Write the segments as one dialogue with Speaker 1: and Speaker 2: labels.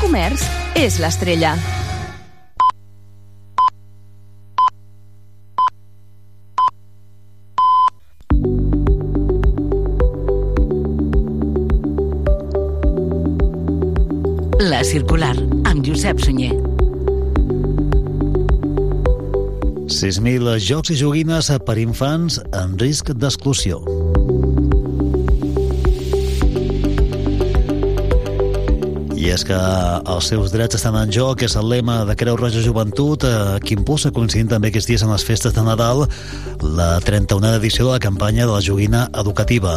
Speaker 1: comerç és l'estrella.
Speaker 2: La Circular, amb Josep Sunyer.
Speaker 3: 6.000 jocs i joguines per infants en risc d'exclusió. I és que els seus drets estan en joc, és el lema de Creu Roja Joventut, eh, que impulsa coincidint també aquests dies en les festes de Nadal la 31a edició de la campanya de la joguina educativa.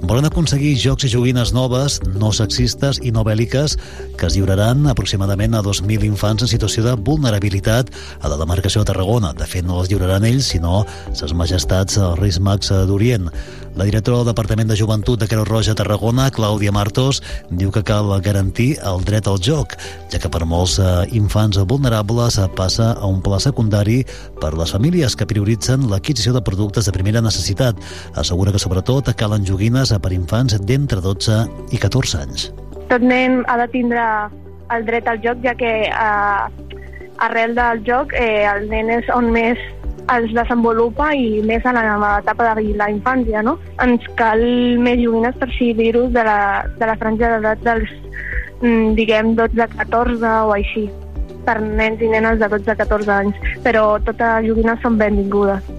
Speaker 3: Volen aconseguir jocs i joguines noves, no sexistes i no bèl·liques, que es lliuraran aproximadament a 2.000 infants en situació de vulnerabilitat a la demarcació de Tarragona. De fet, no els lliuraran ells, sinó ses majestats els Reis Mags d'Orient. La directora del Departament de Joventut de Creu Roja a Tarragona, Clàudia Martos, diu que cal garantir el dret al joc, ja que per molts eh, infants vulnerables eh, passa a un pla secundari per les famílies que prioritzen l'adquisició de productes de primera necessitat. Assegura que, sobretot, calen joguines eh, per infants d'entre 12 i 14 anys.
Speaker 4: tot nen ha de tindre el dret al joc, ja que eh, arrel del joc eh, el nen és on més es desenvolupa i més a l'etapa de la infància, no? Ens cal més joguines per si dir-ho de, la, de la franja d'edat dels, mm, diguem, 12-14 o així, per nens i nenes de 12-14 anys, però totes les joguines són benvingudes.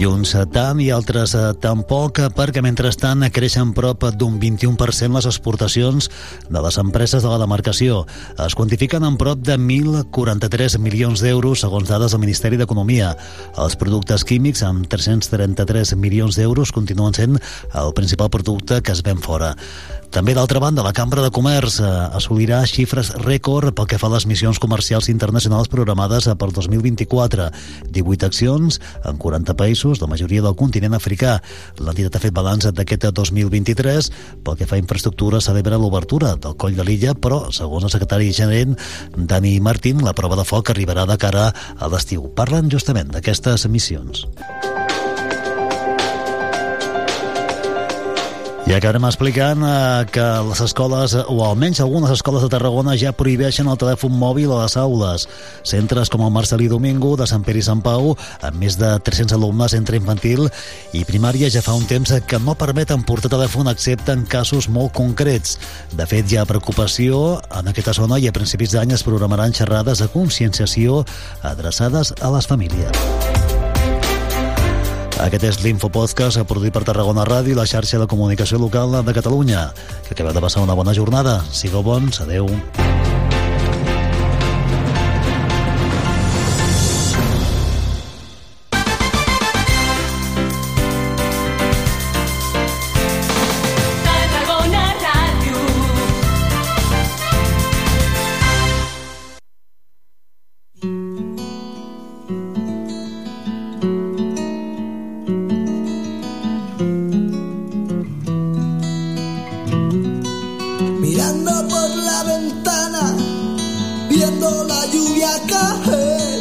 Speaker 3: i uns eh, tant i altres eh, tampoc, eh, perquè mentrestant creixen prop d'un 21% les exportacions de les empreses de la demarcació. Es quantifiquen en prop de 1.043 milions d'euros, segons dades del Ministeri d'Economia. Els productes químics, amb 333 milions d'euros, continuen sent el principal producte que es ven fora. També, d'altra banda, la Cambra de Comerç eh, assolirà xifres rècord pel que fa a les missions comercials internacionals programades eh, per 2024. 18 accions en 40 països, la majoria del continent africà. L'entitat ha fet balanç d'aquest 2023. Pel que fa a infraestructura, celebra l'obertura del coll de l'illa, però, segons el secretari generent Dani Martín, la prova de foc arribarà de cara a l'estiu. Parlen justament d'aquestes missions. I acabarem explicant eh, que les escoles, eh, o almenys algunes escoles de Tarragona, ja prohibeixen el telèfon mòbil a les aules. Centres com el Marcelí Domingo, de Sant Pere i Sant Pau, amb més de 300 alumnes entre infantil i primària, ja fa un temps que no permeten portar telèfon excepte en casos molt concrets. De fet, hi ha preocupació en aquesta zona i a principis d'any es programaran xerrades de conscienciació adreçades a les famílies. Aquest és l'Infopodcast produït per Tarragona Ràdio i la xarxa de comunicació local de Catalunya. Que acabeu de passar una bona jornada. Sigueu bons, adeu.
Speaker 5: Tarragona Ràdio.
Speaker 6: mirando por la ventana, viendo la lluvia caer.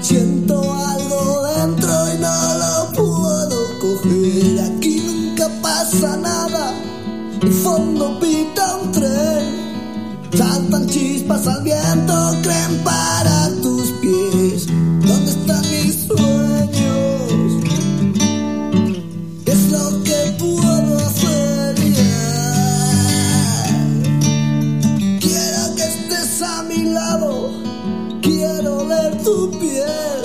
Speaker 6: Siento algo dentro y no lo puedo coger. Aquí nunca pasa nada, el fondo pita un tren. Saltan chispas al viento, creen para tus pies. ¿Dónde están mis sueños? Es lo que puedo hacer ya. Quiero que estés a mi lado, quiero ver tu piel,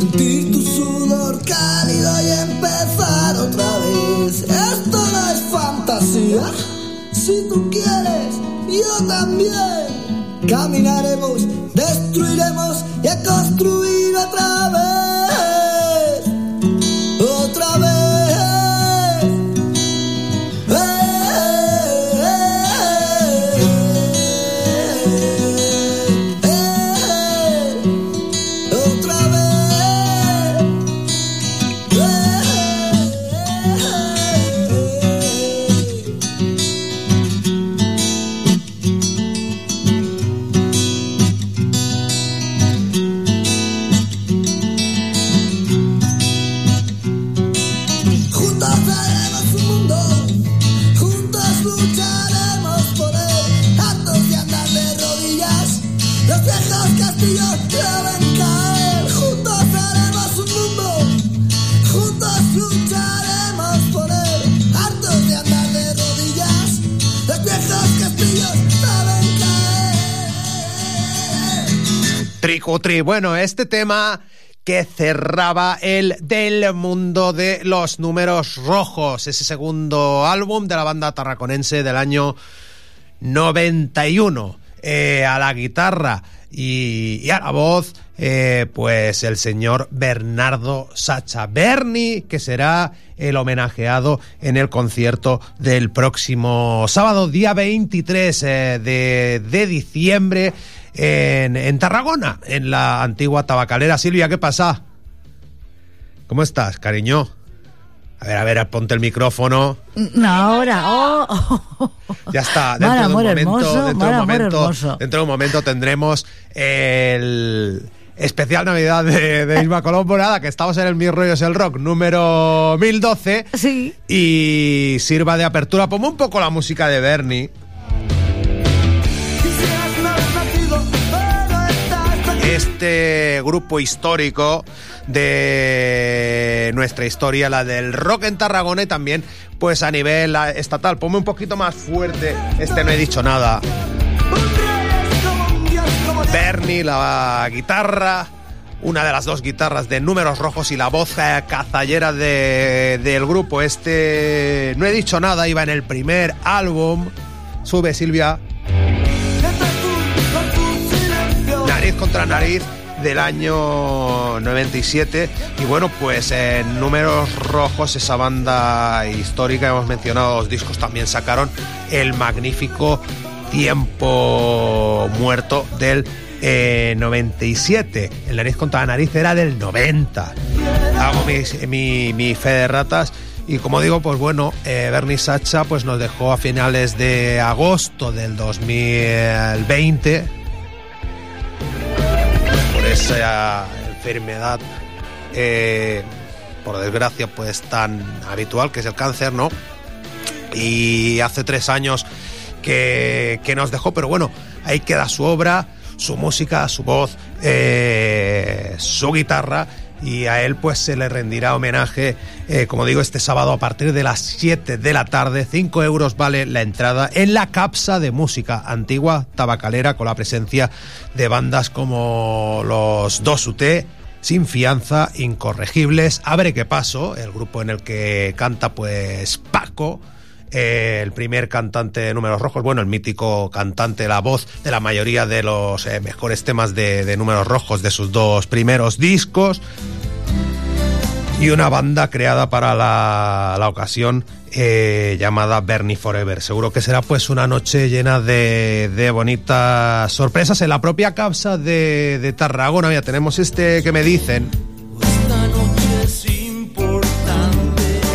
Speaker 6: sentir tu sudor cálido y empezar otra vez. Esto no es fantasía, si tú quieres, yo también. Caminaremos, destruiremos y a construir otra vez otra vez. Eh, eh, eh, eh, otra vez. Eh, eh, eh, eh.
Speaker 5: Tricutri. Bueno, este tema que cerraba el del mundo de los números rojos, ese segundo álbum de la banda tarraconense del año 91. Eh, a la guitarra y, y a la voz, eh, pues el señor Bernardo Sacha Berni, que será el homenajeado en el concierto del próximo sábado, día 23 eh, de, de diciembre, en, en Tarragona, en la antigua tabacalera. Silvia, ¿qué pasa? ¿Cómo estás, cariño? A ver, a ver, ponte el micrófono.
Speaker 2: No, ahora. Oh, oh, oh.
Speaker 5: Ya está, dentro
Speaker 2: Mar,
Speaker 5: de un
Speaker 2: amor
Speaker 5: momento,
Speaker 2: hermoso,
Speaker 5: dentro
Speaker 2: mar,
Speaker 5: de un
Speaker 2: amor
Speaker 5: momento,
Speaker 2: hermoso.
Speaker 5: dentro de un momento tendremos el especial Navidad de, de Isma Colombo, nada, que estamos en el Mis Rollos el Rock número 1012
Speaker 2: Sí.
Speaker 5: y sirva de apertura, pongo un poco la música de Bernie.
Speaker 6: Quisieras no haber nacido, pero estás perdido.
Speaker 5: este grupo histórico de nuestra historia, la del rock en Tarragona y también pues a nivel ah, estatal. Ponme un poquito más fuerte, este no he dicho nada.
Speaker 6: Un rey es como un dios, como te-
Speaker 5: Bernie, la guitarra, una de las dos guitarras de Números Rojos y la voz eh, cazallera de- del grupo. Este no he dicho nada, iba en el primer álbum. Sube Silvia.
Speaker 6: Este es tu- con tu silencio.
Speaker 5: Nariz contra nariz del año 97 y bueno pues en números rojos esa banda histórica hemos mencionado los discos también sacaron el magnífico tiempo muerto del eh, 97 el nariz contra nariz era del 90 hago mis- mi, mi fe de ratas y como digo, pues bueno, eh, Bernie Sacha pues nos dejó a finales de agosto del 2020, por esa enfermedad, eh, por desgracia, pues tan habitual que es el cáncer, ¿no? Y hace tres años que, que nos dejó, pero bueno, ahí queda su obra, su música, su voz, eh, su guitarra. Y a él pues se le rendirá homenaje, eh, como digo, este sábado a partir de las 7 de la tarde. 5 euros vale la entrada en la capsa de música antigua tabacalera con la presencia de bandas como los Dos UT, sin fianza, incorregibles, abre que paso, el grupo en el que canta pues Paco, eh, el primer cantante de Números Rojos, bueno, el mítico cantante, la voz de la mayoría de los eh, mejores temas de, de Números Rojos de sus dos primeros discos y una banda creada para la, la ocasión eh, llamada Bernie Forever. Seguro que será pues una noche llena de, de bonitas sorpresas en la propia capsa de, de Tarragona. Mira, tenemos este que me dicen.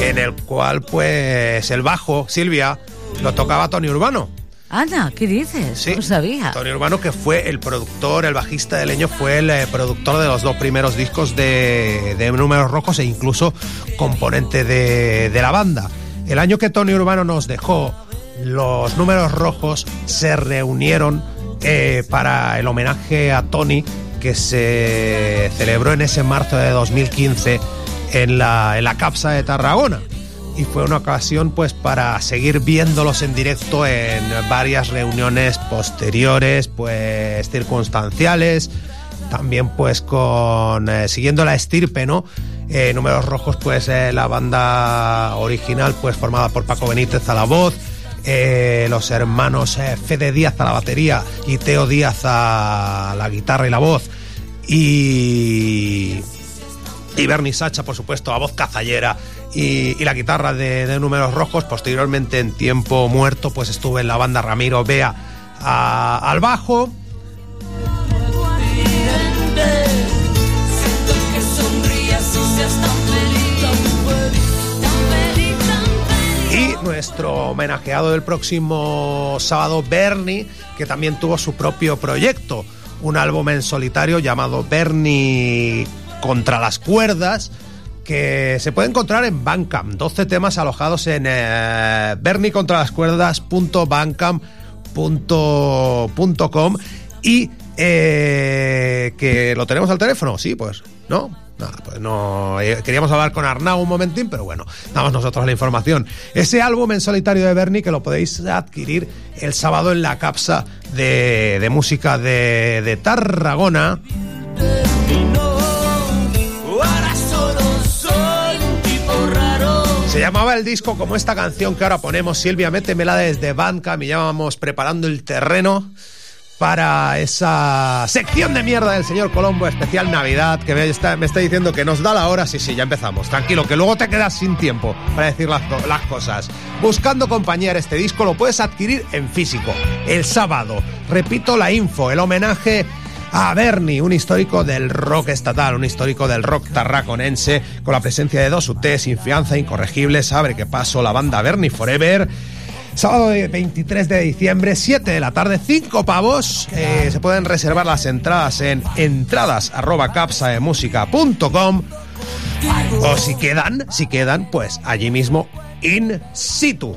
Speaker 5: En el cual pues el bajo, Silvia, lo tocaba Tony Urbano.
Speaker 2: Ana, ¿qué dices?
Speaker 5: Sí.
Speaker 2: No sabía.
Speaker 5: Tony Urbano, que fue el productor, el bajista de Leño, fue el eh, productor de los dos primeros discos de, de Números Rojos e incluso componente de, de la banda. El año que Tony Urbano nos dejó, los Números Rojos se reunieron eh, para el homenaje a Tony que se celebró en ese marzo de 2015 en la, en la Capsa de Tarragona y fue una ocasión pues para seguir viéndolos en directo en varias reuniones posteriores pues circunstanciales también pues con eh, siguiendo la estirpe no Eh, números rojos pues eh, la banda original pues formada por Paco Benítez a la voz eh, los hermanos eh, Fede Díaz a la batería y Teo Díaz a la guitarra y la voz y y Bernie Sacha, por supuesto, a voz cazallera y, y la guitarra de, de Números Rojos. Posteriormente, en tiempo muerto, pues estuve en la banda Ramiro Bea a- al bajo. Y nuestro homenajeado del próximo sábado, Bernie, que también tuvo su propio proyecto, un álbum en solitario llamado Bernie contra las cuerdas, que se puede encontrar en Bandcamp. 12 temas alojados en eh, berniecontralascuerdas.bandcamp.com y eh, que lo tenemos al teléfono, sí, pues, ¿no? Nada, pues no. eh, Queríamos hablar con Arnau un momentín, pero bueno, damos nosotros la información. Ese álbum en solitario de Bernie que lo podéis adquirir el sábado en la capsa de, de música de, de Tarragona. Se llamaba el disco como esta canción que ahora ponemos, Silvia, métemela desde Bandcamp y ya vamos preparando el terreno para esa sección de mierda del señor Colombo, especial Navidad, que me está, me está diciendo que nos da la hora. Sí, sí, ya empezamos. Tranquilo, que luego te quedas sin tiempo para decir las, co- las cosas. Buscando compañía, este disco lo puedes adquirir en físico, el sábado. Repito la info, el homenaje a Bernie, un histórico del rock estatal, un histórico del rock tarraconense, con la presencia de dos UT sin fianza, incorregibles, abre que paso la banda Bernie Forever. Sábado de 23 de diciembre, 7 de la tarde, 5 pavos. Eh, se pueden reservar las entradas en entradas.capsaemusica.com o si quedan, si quedan, pues allí mismo in situ.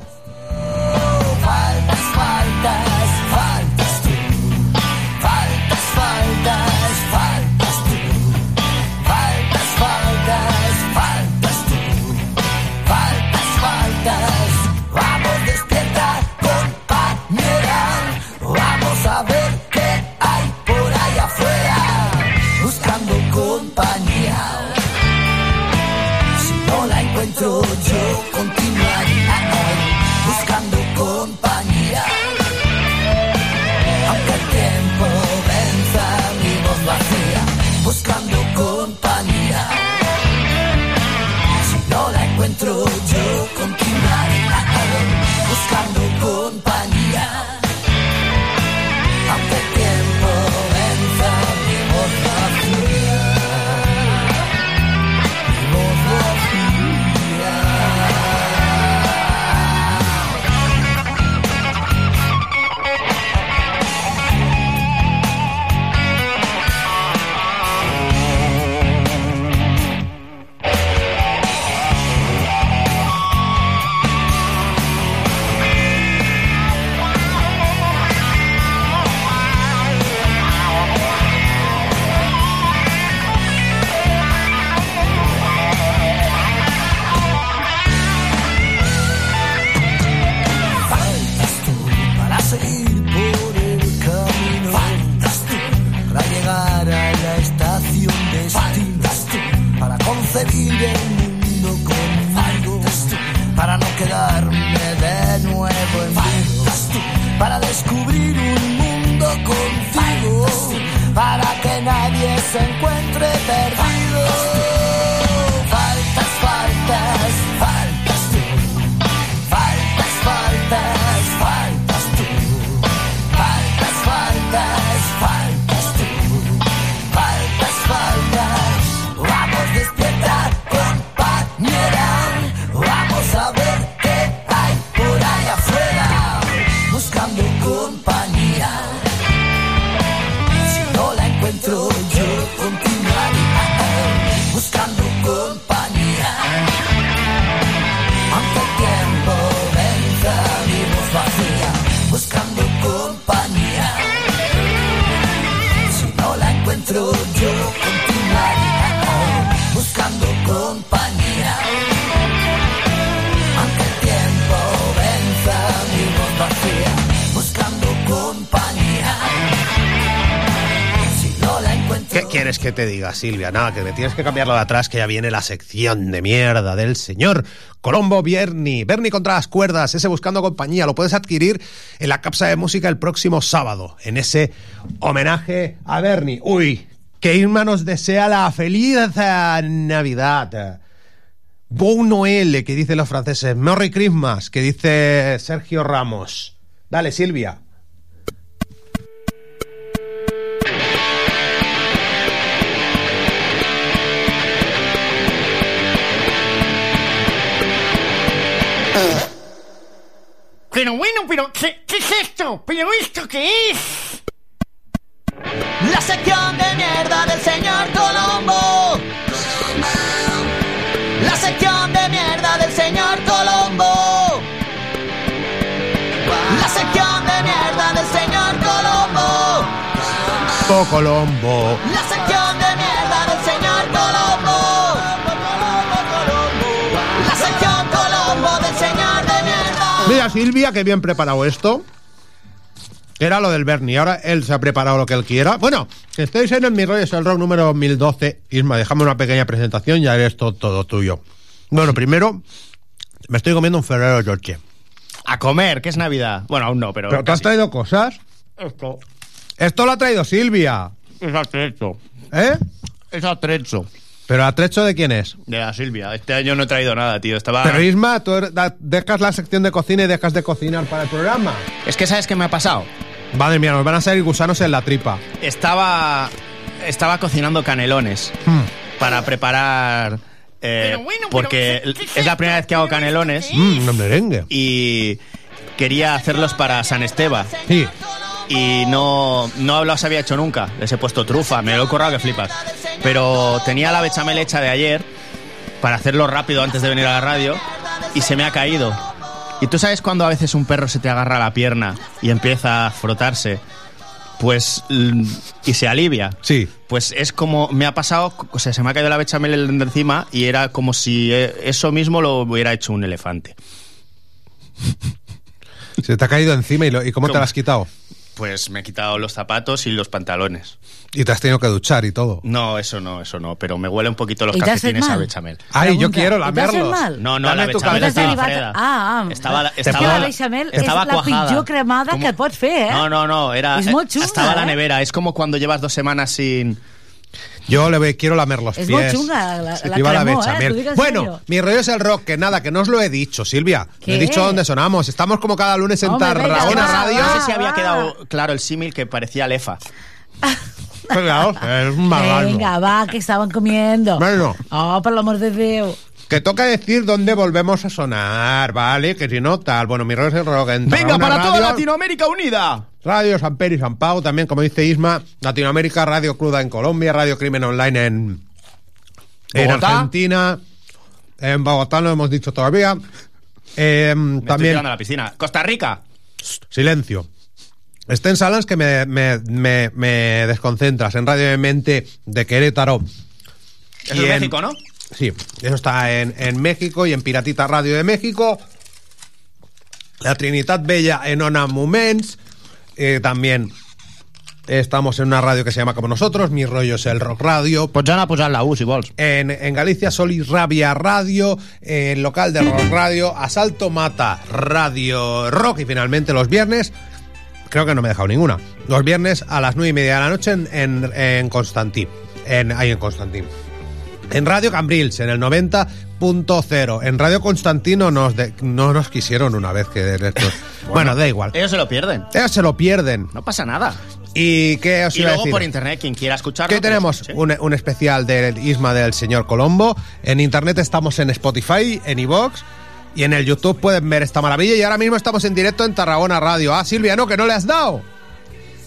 Speaker 5: ¿Qué quieres que te diga, Silvia? Nada, que me tienes que cambiarlo de atrás, que ya viene la sección de mierda del señor Colombo Bierni. Berni contra las cuerdas, ese buscando compañía. Lo puedes adquirir en la capsa de música el próximo sábado, en ese homenaje a Bernie. Uy, que Irma nos desea la feliz eh, Navidad. Bon Noel, que dicen los franceses. Merry Christmas, que dice Sergio Ramos. Dale, Silvia.
Speaker 7: Pero bueno, pero ¿qué, qué es esto? ¿Pero esto qué
Speaker 8: Eh,
Speaker 7: es?
Speaker 9: La sección de mierda del señor Colombo. La sección de mierda del señor Colombo. La sección de mierda del señor Colombo.
Speaker 5: Po Colombo.
Speaker 9: La sección de mierda del señor Colombo. La sección Colombo del señor de mierda.
Speaker 5: Mira, Silvia, qué bien preparado esto. Era lo del Bernie, ahora él se ha preparado lo que él quiera. Bueno, estáis en el Mi Rollo es el Rock número 2012. Isma, déjame una pequeña presentación y haré esto todo tuyo. Bueno, primero, Me estoy comiendo un Ferrero Rocher.
Speaker 8: A comer, que es Navidad. Bueno, aún no, pero.
Speaker 5: Pero tú has
Speaker 8: casi.
Speaker 5: traído cosas.
Speaker 8: Esto
Speaker 5: Esto lo ha traído Silvia,
Speaker 8: es atrecho.
Speaker 5: ¿eh?
Speaker 8: Es atrecho.
Speaker 5: Pero atrecho de quién es.
Speaker 8: De la Silvia. Este año no he traído nada, tío. Estaba.
Speaker 5: Pero Isma, tú er- da- dejas la sección de cocina y dejas de cocinar para el programa.
Speaker 8: Es que sabes qué me ha pasado.
Speaker 5: Madre mía, nos van a salir gusanos en la tripa.
Speaker 8: Estaba. Estaba cocinando canelones
Speaker 5: Hmm.
Speaker 8: para preparar. eh,
Speaker 7: Pero bueno, pero
Speaker 8: porque
Speaker 7: ¿qué- qué es
Speaker 8: es la
Speaker 7: esto?
Speaker 8: primera vez que hago
Speaker 7: ¿Pero esto
Speaker 8: canelones Mm.
Speaker 7: qué
Speaker 5: Mmm, merengue.
Speaker 8: y quería hacerlos para San Esteban.
Speaker 5: Sí.
Speaker 8: y no, no los había hecho nunca. Les he puesto trufa, me lo he currado que flipas. Pero tenía la bechamel hecha de ayer para hacerlo rápido antes de venir a la radio y se me ha caído. ¿Y tú sabes cuando a veces un perro se te agarra la pierna y empieza a frotarse? Pues. l- y se alivia.
Speaker 5: Sí.
Speaker 8: Pues es como. me ha pasado. O sea, se me ha caído la bechamel de encima y era como si eh, eso mismo lo hubiera hecho un elefante.
Speaker 5: Se te ha caído encima y, lo- y cómo te
Speaker 8: ¿Cómo?
Speaker 5: lo has quitado.
Speaker 8: Pues me he quitado los zapatos y los pantalones.
Speaker 5: Y te has tenido que duchar y todo.
Speaker 8: No, eso no, eso no, pero me huele un poquito los
Speaker 2: ¿Y te haces
Speaker 8: calcetines a
Speaker 2: mal?
Speaker 8: bechamel.
Speaker 5: Ay, yo
Speaker 2: Pregunta,
Speaker 5: quiero
Speaker 2: ¿y te haces
Speaker 5: lamerlos.
Speaker 2: mal?
Speaker 8: No, no,
Speaker 5: Dame
Speaker 8: la
Speaker 5: tu
Speaker 8: bechamel
Speaker 5: cabeza.
Speaker 8: estaba
Speaker 2: Has derivat-
Speaker 8: freda.
Speaker 2: Ah, ah.
Speaker 8: estaba,
Speaker 2: És
Speaker 8: estaba,
Speaker 2: que la bechamel és
Speaker 8: estaba
Speaker 2: la
Speaker 8: cuajada.
Speaker 2: pitjor cremada que pots fer, eh?
Speaker 8: No, no, no, era,
Speaker 2: És molt xunga,
Speaker 8: estaba la
Speaker 2: eh?
Speaker 8: nevera, es como cuando llevas dos semanas sin...
Speaker 5: Yo le voy- quiero lamer los
Speaker 2: Es
Speaker 5: pies.
Speaker 2: bochunga, la-
Speaker 5: Se
Speaker 2: la
Speaker 5: te iba
Speaker 2: cremó,
Speaker 5: bechamel.
Speaker 2: ¿eh? Lo digo en
Speaker 5: Bueno,
Speaker 2: serio.
Speaker 5: mi rollo es el rock, que nada, que no os lo he dicho, Silvia.
Speaker 2: ¿Qué?
Speaker 5: He dicho dónde sonamos. Estamos como cada lunes en
Speaker 2: Hombre, venga,
Speaker 5: Tarragona
Speaker 2: va,
Speaker 5: Radio.
Speaker 8: Ah, No sé si
Speaker 2: va.
Speaker 8: había quedado claro el símil que parecía lefa.
Speaker 5: Claro, es un magarro.
Speaker 2: Venga, va, que estaban comiendo.
Speaker 5: Bueno.
Speaker 2: Oh, por el amor de Déu.
Speaker 5: Que toca decir dónde volvemos a sonar, ¿vale? Que si no, tal. Bueno, mi rollo es el rock. en Tarragona Radio,
Speaker 8: Latinoamérica unida.
Speaker 5: Radio San Pedro y San Pau, también, como dice Isma, Latinoamérica, Radio Cruda en Colombia, Radio Crimen Online en, en
Speaker 8: Bogotá.
Speaker 5: Argentina, en Bogotá no hemos dicho todavía. Em,
Speaker 8: Me estoy
Speaker 5: también,
Speaker 8: tirando a la piscina. Costa Rica.
Speaker 5: silencio. Estén salas que me, me- me- me desconcentras. En Radio de Mente de Querétaro.
Speaker 8: Eso
Speaker 5: Y
Speaker 8: es
Speaker 5: en-
Speaker 8: México, ¿no?
Speaker 5: Sí, eso está en, en México y en Piratita Radio de México. La Trinidad Bella en Ona Moments. Eh, también estamos en una radio que se llama como nosotros, Mi Rollo es el Rock Radio.
Speaker 8: Pues ya la posar la U, si vols.
Speaker 5: En, en Galicia, Sol y Rabia Radio, eh, el local de Rock Radio, Asalto Mata Radio Rock y finalmente los viernes, creo que no me he dejado ninguna, los viernes a las nueve y media de la noche en, en, en Constantí, en, ahí en Constantí. En Radio Cambrils, en el 90.0. En Radio Constantino nos de- no nos quisieron una vez que... de- bueno, da igual.
Speaker 8: Ellos se lo pierden.
Speaker 5: Ellos se lo pierden.
Speaker 8: No pasa nada.
Speaker 5: ¿Y qué os
Speaker 8: Y
Speaker 5: iba a
Speaker 8: luego
Speaker 5: decir?
Speaker 8: por internet, quien quiera escucharlo. pues,
Speaker 5: ¿Qué
Speaker 8: que lo
Speaker 5: tenemos?
Speaker 8: escuche.
Speaker 5: Un, un especial del Isma del señor Colombo. En internet estamos en Spotify, en iVoox y en el YouTube pueden ver esta maravilla. Y ahora mismo estamos en directo en Tarragona Radio. Ah, Silvia, no, que no le has dado.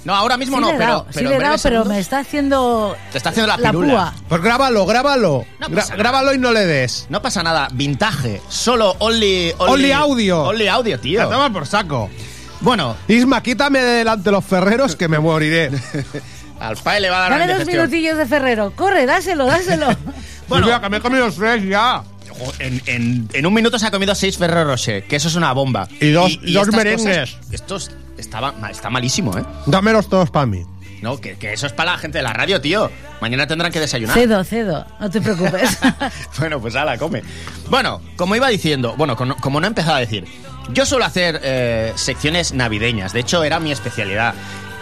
Speaker 8: No, ahora mismo
Speaker 2: sí
Speaker 8: no,
Speaker 2: le he
Speaker 8: pero,
Speaker 2: dado,
Speaker 8: pero
Speaker 2: sí
Speaker 8: en
Speaker 2: le he
Speaker 8: breves
Speaker 2: dado, pero
Speaker 8: segundos-
Speaker 2: me está haciendo...
Speaker 8: Te está haciendo la pirula.
Speaker 2: púa.
Speaker 5: Pues grábalo, grábalo.
Speaker 8: No pues
Speaker 5: Gra-
Speaker 8: pasa nada.
Speaker 5: grábalo y no le des.
Speaker 8: No pasa nada, vintage, solo only...
Speaker 5: Only audio. Ah,
Speaker 8: Only audio,
Speaker 5: A
Speaker 8: tío.
Speaker 5: tomar por saco.
Speaker 8: Bueno,
Speaker 5: Isma, quítame de delante los ferreros que me moriré.
Speaker 8: al PAE le va a dar
Speaker 2: Dale
Speaker 8: una
Speaker 2: dos
Speaker 8: indigestión.
Speaker 2: minutillos de Ferrero. Corre, dáselo, dáselo.
Speaker 8: Bueno.
Speaker 5: Silvia, que me he comido tres ya.
Speaker 8: Jo, En, en- en un minuto se ha comido seis Ferrero Rocher, que eso es una bomba.
Speaker 5: Y dos- y dos
Speaker 8: estas
Speaker 5: merengues.
Speaker 8: cosas- esto es- estaba, ma- está malísimo, ¿eh?
Speaker 5: Dámelos todos para mí.
Speaker 8: No, que, que eso es para la gente de la radio, tío. Mañana tendrán que desayunar.
Speaker 2: cedo, cedo. No te preocupes.
Speaker 8: bueno, pues ala, come. Bueno, como iba diciendo, bueno, con- como no he empezado a decir, yo suelo hacer eh, secciones navideñas, de hecho era mi especialidad.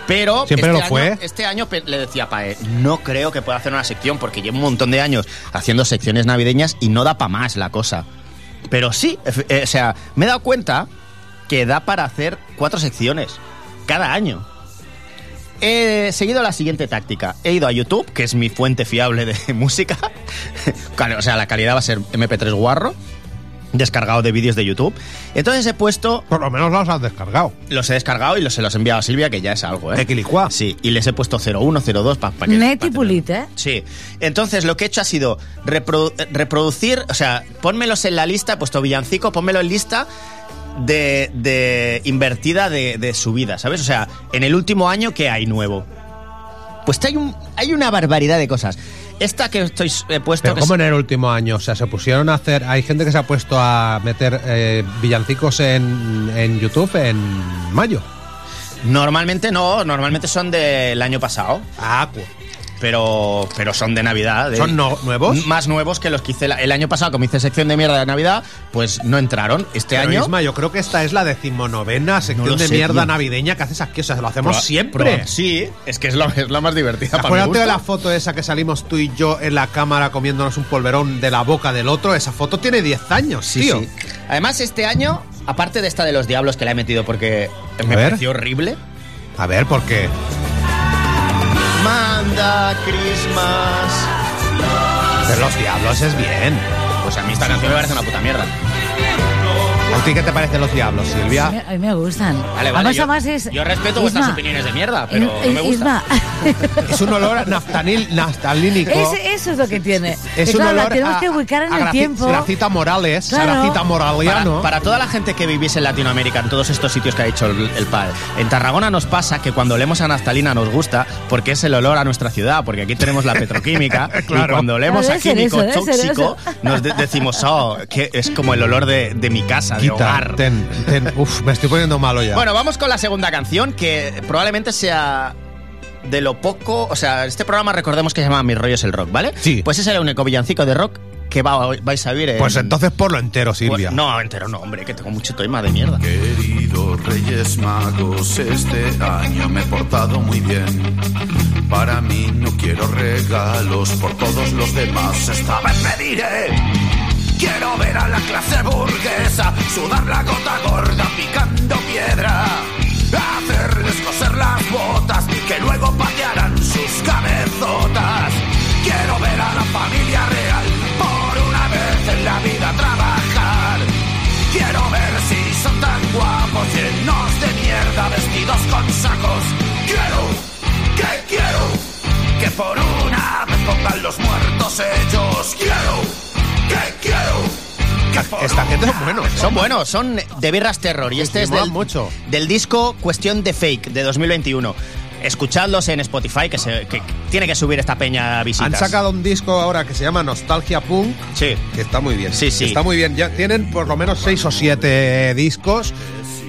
Speaker 8: Pero
Speaker 5: Siempre
Speaker 8: este
Speaker 5: lo fue.
Speaker 8: año, este año pe- le decía a Pae, no creo que pueda hacer una sección porque llevo un montón de años haciendo secciones navideñas y no da para más la cosa. Pero sí, efe- eh, o sea, me he dado cuenta que da para hacer cuatro secciones cada año. He seguido la siguiente táctica. He ido a YouTube, que es mi fuente fiable de música. Claro, o sea, la calidad va a ser MP3 guarro, descargado de vídeos de YouTube. Entonces he puesto,
Speaker 5: Por lo menos los has descargado.
Speaker 8: los he descargado y los, se los he enviado a Silvia, que ya es algo, ¿eh?
Speaker 5: Equilicua.
Speaker 8: Sí, y les he puesto 01, 02 para que...
Speaker 2: Net y
Speaker 8: pa-
Speaker 2: pulit, ¿eh?
Speaker 8: Sí. Entonces lo que he hecho ha sido reprodu- reproducir, o sea, pónmelos en la lista, he puesto villancico, pónmelo en lista de, de invertida de, de subida, ¿sabes? O sea, en el último año, ¿qué hay nuevo? Pues hay, un, hay una barbaridad de cosas. Esta que estoy he puesto...
Speaker 5: Pero
Speaker 8: que
Speaker 5: como
Speaker 8: es-
Speaker 5: en el último año, o sea, se pusieron a hacer, hay gente que se ha puesto a meter eh, villancicos en, en YouTube en mayo.
Speaker 8: Normalmente no, normalmente son del año pasado. ¿este
Speaker 5: Ah, pues.
Speaker 8: pero, pero son de Navidad. de-
Speaker 5: ¿Son no- nuevos?
Speaker 8: Más nuevos que los que hice la- el año pasado, como hice sección de mierda de Navidad, pues no entraron. Este
Speaker 5: Pero,
Speaker 8: año.
Speaker 5: Isma, yo creo que esta es la decimonovena sección
Speaker 8: lo
Speaker 5: de
Speaker 8: sé,
Speaker 5: mierda
Speaker 8: tío.
Speaker 5: navideña que haces aquí. O sea, lo hacemos
Speaker 8: proba-
Speaker 5: siempre.
Speaker 8: proba- sí, es que es la, es la más divertida para
Speaker 5: Acuérdate de la foto esa que salimos tú y yo en la cámara comiéndonos un polverón de la boca del otro. Esa foto tiene 10 años,
Speaker 8: Sí,
Speaker 5: tío.
Speaker 8: sí. Además, este año, aparte de esta de los diablos que la he metido porque me
Speaker 5: ver.
Speaker 8: pareció horrible.
Speaker 5: A ver, ¿por qué?
Speaker 8: Manda Christmas.
Speaker 5: Pero los diablos es bien.
Speaker 8: Pues a mí esta canción me parece una puta mierda.
Speaker 5: ¿A ti qué te parecen los diablos,
Speaker 10: A mí-
Speaker 5: Silvia?
Speaker 10: a mí me gustan.
Speaker 8: Vale, vale,
Speaker 10: Además,
Speaker 8: yo-
Speaker 10: además es-
Speaker 8: yo respeto vuestras
Speaker 10: Isma,
Speaker 8: opiniones de mierda, pero no me
Speaker 10: Isma,
Speaker 8: gusta.
Speaker 5: Es un olor a naftanil, naftalínico.
Speaker 10: ese- eso es lo que tiene. Que
Speaker 5: Es un
Speaker 10: claro, la
Speaker 5: olor
Speaker 10: tenemos
Speaker 5: a-
Speaker 10: que ubicar en
Speaker 5: a
Speaker 10: el
Speaker 5: Graci-
Speaker 10: tiempo.
Speaker 5: Gracita Morales,
Speaker 10: Claro.
Speaker 5: Gracita
Speaker 8: Para,
Speaker 5: Moraliano.
Speaker 8: para toda la gente que vivís en Latinoamérica, en todos estos sitios que ha dicho el, el padre, en Tarragona nos pasa que cuando olemos a naftalina nos gusta porque es el olor a nuestra ciudad, porque aquí tenemos la petroquímica y cuando olemos a
Speaker 10: Debe ser
Speaker 8: químico
Speaker 10: eso, debe ser
Speaker 8: tóxico nos de- decimos, oh, que es como el olor de, de mi casa, de hogar.
Speaker 5: ten, ten. Uf, me estoy poniendo malo ya.
Speaker 8: Bueno, vamos con la segunda canción que probablemente sea de lo poco, o sea, este programa recordemos que se llama Mis rollos el rock, ¿vale?
Speaker 5: Sí.
Speaker 8: Pues ese es el único villancico de rock que va- vais a oír. en-
Speaker 5: pues entonces por lo entero, Silvia.
Speaker 8: eh, Pues- no, entero no, hombre, que tengo mucho toima de mierda.
Speaker 6: Queridos Reyes Magos, este año me he portado muy bien. Para mí no quiero regalos, por todos los demás esta vez pediré. ¿eh? Quiero ver a la clase burguesa sudar la gota gorda picando piedra. Hacerles coser las botas que luego patearán sus cabezotas. Quiero ver a la familia real por una vez en la vida trabajar. Quiero ver si son tan guapos, llenos de mierda, vestidos con sacos. Quiero, que quiero, que por una vez pongan los muertos ellos. Quiero, que quiero, que por
Speaker 5: Esta gente
Speaker 6: una
Speaker 5: es ¿eh? bueno.
Speaker 8: Son buenos, son de Birras Terror y este es
Speaker 5: molan
Speaker 8: del,
Speaker 5: mucho.
Speaker 8: del disco Cuestión de Fake de 2021. Escuchadlos en Spotify, que, se, que tiene que subir esta peña a visitas.
Speaker 5: Han sacado un disco ahora que se llama Nostalgia Punk.
Speaker 8: Sí.
Speaker 5: Que está muy bien.
Speaker 8: Sí, sí.
Speaker 5: Está muy bien. Ya tienen por lo menos seis o siete discos.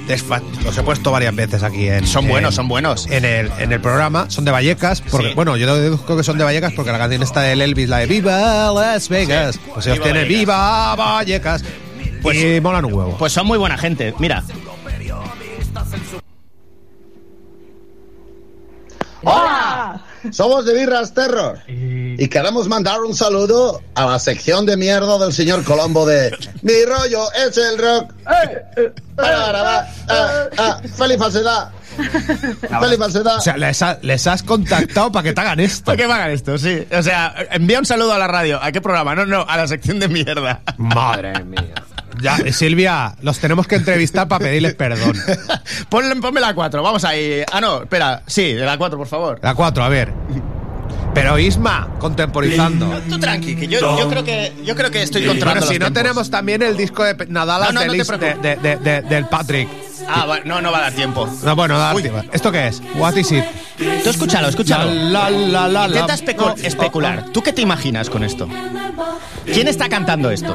Speaker 5: Desfa- Los he puesto varias veces aquí en.
Speaker 8: Son
Speaker 5: en-
Speaker 8: buenos, son buenos.
Speaker 5: pues, En el, en el programa. Son de Vallecas. Porque,
Speaker 8: Sí.
Speaker 5: Bueno, yo deduzco que son de Vallecas porque la canción está del Elvis, la de Viva Las Vegas.
Speaker 8: Sí.
Speaker 5: Pues ellos
Speaker 8: Viva
Speaker 5: tienen
Speaker 8: Vallecas.
Speaker 5: Viva Vallecas.
Speaker 8: Pues-
Speaker 5: y molan un huevo.
Speaker 8: Pues son muy buena gente. Mira,
Speaker 11: ¡Hola! Somos de Birras Terror y queremos mandar un saludo a la sección de mierda del señor Colombo de Mi rollo es el rock. Eh, eh, ah, ah, ah, ah, ¡Feliz falsedad! ¡Feliz falsedad!
Speaker 5: o sea, les, ha- les has contactado para que te hagan esto.
Speaker 8: ¿Para qué pagan esto? Sí. O sea, envía un saludo a la radio. ¿A qué programa? No, no, a la sección de mierda.
Speaker 5: Madre mía. Ya, eh, Silvia, los tenemos que entrevistar para pedirles perdón.
Speaker 8: Ponle, ponme la 4, vamos ahí. Ah, no, espera. Sí, de la 4, por favor.
Speaker 5: La 4, a ver. Pero Isma, contemporizando.
Speaker 8: Tú tranqui, que yo, yo creo que, yo creo que estoy controlando
Speaker 5: Pero si
Speaker 8: los
Speaker 5: no
Speaker 8: tiempos.
Speaker 5: tenemos también el disco de Nadal
Speaker 8: No, no,
Speaker 5: de
Speaker 8: no te
Speaker 5: Lis- de-
Speaker 8: preocupes.
Speaker 5: de- de- de- del Patrick.
Speaker 8: Ah, va- no, no va a dar tiempo.
Speaker 5: No, bueno, da-
Speaker 8: Uy.
Speaker 5: ¿esto qué es? What is it?
Speaker 8: Tú escúchalo, escúchalo.
Speaker 5: La, la, la, la, la.
Speaker 8: Intenta especu-
Speaker 5: Oh, oh,
Speaker 8: especular. ¿Tú qué te imaginas con esto? ¿Quién está cantando esto?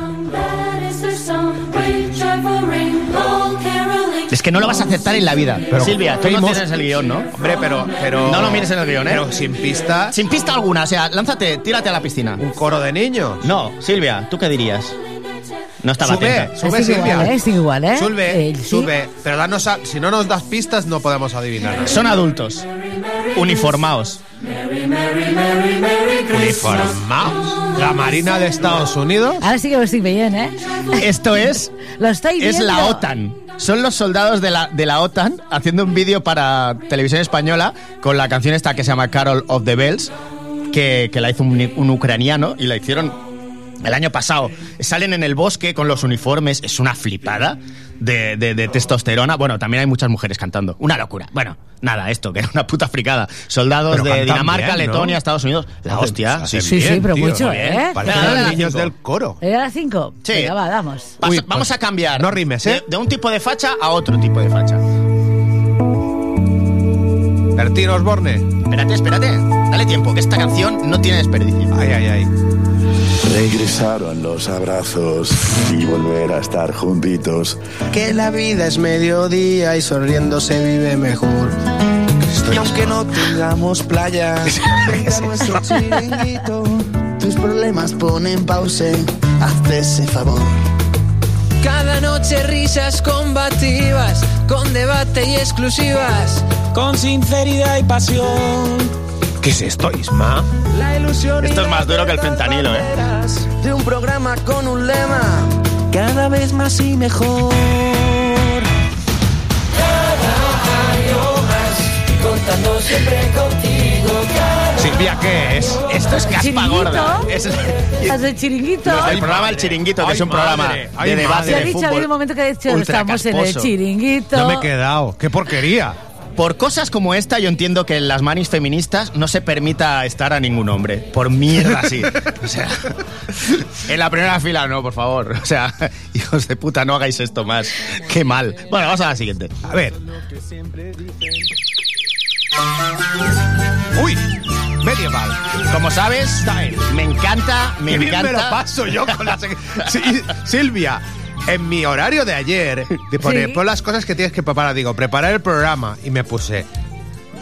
Speaker 8: Es que no lo vas a aceptar en la vida.
Speaker 5: Pero-
Speaker 8: Silvia, tú no
Speaker 5: Famous-
Speaker 8: tienes el guión, ¿no?
Speaker 5: Hombre, pero, pero.
Speaker 8: No lo mires en el guión, ¿eh?
Speaker 5: Pero sin pistas,
Speaker 8: Sin pista alguna, o sea, lánzate, tírate a la piscina.
Speaker 5: un coro de niños.
Speaker 8: No, Silvia, ¿tú qué dirías? No estaba
Speaker 5: Sube.
Speaker 8: atenta.
Speaker 5: Sube,
Speaker 10: es igual,
Speaker 5: Silvia.
Speaker 10: ¿eh? Es igual, ¿eh?
Speaker 5: Sube,
Speaker 10: Eh, sí.
Speaker 5: sube. Pero danos a- si no nos das pistas, no podemos adivinar.
Speaker 8: Son adultos, uniformados.
Speaker 5: Uniformados. La Marina de Estados Unidos.
Speaker 10: Ahora sí que lo estoy bien, ¿eh?
Speaker 8: Esto es
Speaker 10: Lo estáis
Speaker 8: es
Speaker 10: viendo.
Speaker 8: la OTAN. Son los soldados de la, de la OTAN haciendo un vídeo para televisión española con la canción esta que se llama Carol of the Bells, que, que la hizo un, un ucraniano y la hicieron el año pasado. Salen en el bosque con los uniformes, es una flipada de, de- de testosterona. Bueno, también hay muchas mujeres cantando, una locura. Bueno, nada, esto, que era una puta fricada. Soldados
Speaker 5: Pero
Speaker 8: de
Speaker 5: cantan
Speaker 8: Dinamarca,
Speaker 5: bien, ¿no?
Speaker 8: Letonia, Estados Unidos. La
Speaker 5: Hacen-
Speaker 8: hostia,
Speaker 5: hacen
Speaker 8: sí,
Speaker 10: sí, sí, pero
Speaker 5: tío,
Speaker 10: mucho,
Speaker 5: muy bien.
Speaker 10: ¿eh?
Speaker 5: Parecen los
Speaker 8: Dale, dale,
Speaker 5: niños
Speaker 8: cinco.
Speaker 5: del coro.
Speaker 10: ¿Era la 5?
Speaker 8: Sí.
Speaker 10: Venga, va, vamos.
Speaker 8: Pasa-
Speaker 5: Uy,
Speaker 8: vamos
Speaker 5: pues,
Speaker 8: a cambiar.
Speaker 5: no rimes, ¿eh?
Speaker 8: De, de un tipo de facha a otro tipo de facha.
Speaker 5: Bertín Osborne.
Speaker 8: Espérate, espérate. Dale tiempo, que esta canción no tiene desperdicio.
Speaker 5: Ay, ay, ay.
Speaker 6: Regresaron los abrazos y volver a estar juntitos.
Speaker 11: Que la vida es mediodía y sonriendo se vive mejor. Estoy
Speaker 12: Y aunque no tengamos playa, frente a nuestro chiringuito, tus problemas ponen pause. Hazte ese favor.
Speaker 13: Cada noche risas combativas, con debate y exclusivas, con sinceridad y pasión.
Speaker 8: ¿Qué es esto, Isma?
Speaker 13: La ilusión
Speaker 8: Esto es más duro que el fentanilo, ¿eh?
Speaker 13: de un programa con un lema, cada vez más y mejor.
Speaker 6: Cada año más, contando siempre contigo.
Speaker 8: Silvia, ¿qué es? Esto es caspa gorda. Es
Speaker 10: Las del chiringuito.
Speaker 8: Los del programa El Chiringuito, que es un programa de debate
Speaker 10: Se ha
Speaker 8: de
Speaker 10: dicho, ha habido un
Speaker 8: fútbol.
Speaker 10: momento que ha dicho, estamos en el
Speaker 8: ultracasposo.
Speaker 10: chiringuito.
Speaker 8: quedado. ¡Qué porquería! Por cosas como esta, yo entiendo que en las manis feministas no se permita estar a ningún hombre. Por mierda, sí. O sea, en la primera fila, no, por favor. O sea, hijos de puta, no hagáis esto más. Qué mal. Bueno, vamos a la siguiente. A ver. ¡Uy! Medieval. Como sabes, me encanta, me
Speaker 5: Qué bien
Speaker 8: encanta.
Speaker 5: me lo paso yo con la sec- Sí, Silvia, en mi horario de ayer, te pone,
Speaker 10: Sí.
Speaker 5: pon las cosas que tienes que preparar. Digo, preparar el programa. Y me puse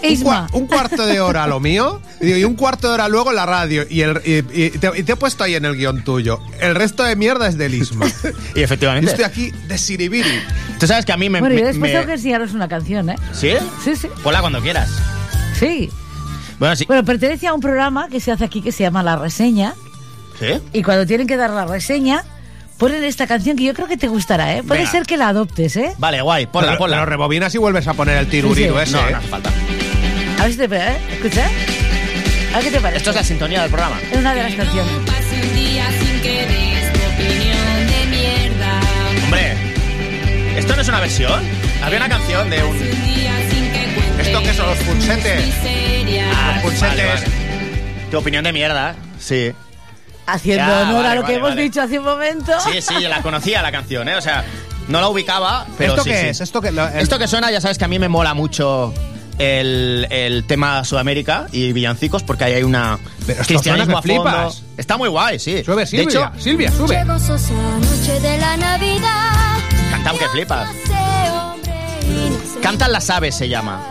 Speaker 5: un,
Speaker 10: Isma.
Speaker 5: cua- un cuarto de hora lo mío. Y, digo, y un cuarto de hora luego la radio. Y, el, y- y te, y te he puesto ahí en el guión tuyo. El resto de mierda es del Isma.
Speaker 8: y efectivamente.
Speaker 5: Yo estoy aquí de Siribiri.
Speaker 8: Tú sabes que a mí me.
Speaker 10: bueno,
Speaker 8: me-
Speaker 10: yo después
Speaker 8: me-
Speaker 10: tengo que enseñaros una canción, ¿eh?
Speaker 8: ¿Sí?
Speaker 10: Sí, sí.
Speaker 8: Ponla cuando quieras.
Speaker 10: Sí.
Speaker 8: Bueno, sí.
Speaker 10: Bueno, pertenece a un programa que se hace aquí que se llama La Reseña.
Speaker 8: ¿Sí?
Speaker 10: Y cuando tienen que dar la reseña, ponen esta canción que yo creo que te gustará, ¿eh? Puede
Speaker 5: Venga.
Speaker 10: ser que la adoptes, ¿eh?
Speaker 8: Vale, guay.
Speaker 5: Ponla, ponla. Lo rebobinas y vuelves a poner el tiruriru
Speaker 8: Sí, sí.
Speaker 5: ese.
Speaker 8: No,
Speaker 5: ¿eh?
Speaker 8: no hace falta.
Speaker 10: A ver si te pega, ¿eh? Escucha. ¿eh? A ver qué te parece.
Speaker 8: Esto es la sintonía del programa.
Speaker 10: Es una de las canciones.
Speaker 14: un día sin que des tu opinión de mierda.
Speaker 8: Hombre, ¿esto no es una versión? Había una canción de un.
Speaker 14: Un día sin que cuentes
Speaker 8: ¿Esto qué son los punsetes?
Speaker 14: serias.
Speaker 8: punsetes. Tu opinión de mierda. Sí.
Speaker 10: Haciendo
Speaker 8: Ya,
Speaker 10: honor a
Speaker 8: vale,
Speaker 10: lo que
Speaker 8: vale,
Speaker 10: hemos
Speaker 8: vale.
Speaker 10: dicho hace un momento.
Speaker 8: Sí, sí, yo la conocía la canción, ¿eh? O sea, no la ubicaba, pero
Speaker 5: ¿Esto
Speaker 8: sí,
Speaker 5: qué
Speaker 8: sí.
Speaker 5: es? ¿Esto qué lo- el-
Speaker 8: Esto que suena, ya sabes que a mí me mola mucho el, el tema Sudamérica y villancicos, porque ahí hay una
Speaker 5: Pero esto suena
Speaker 8: cristianismo
Speaker 5: que
Speaker 8: a fondo.
Speaker 5: flipas.
Speaker 8: Está muy guay, sí. Sube,
Speaker 5: Silvia, Silvia, sube.
Speaker 15: Gozosa noche de la Navidad.
Speaker 8: Cantan que flipas.
Speaker 15: Sé hombre
Speaker 8: Cantan las aves se llama.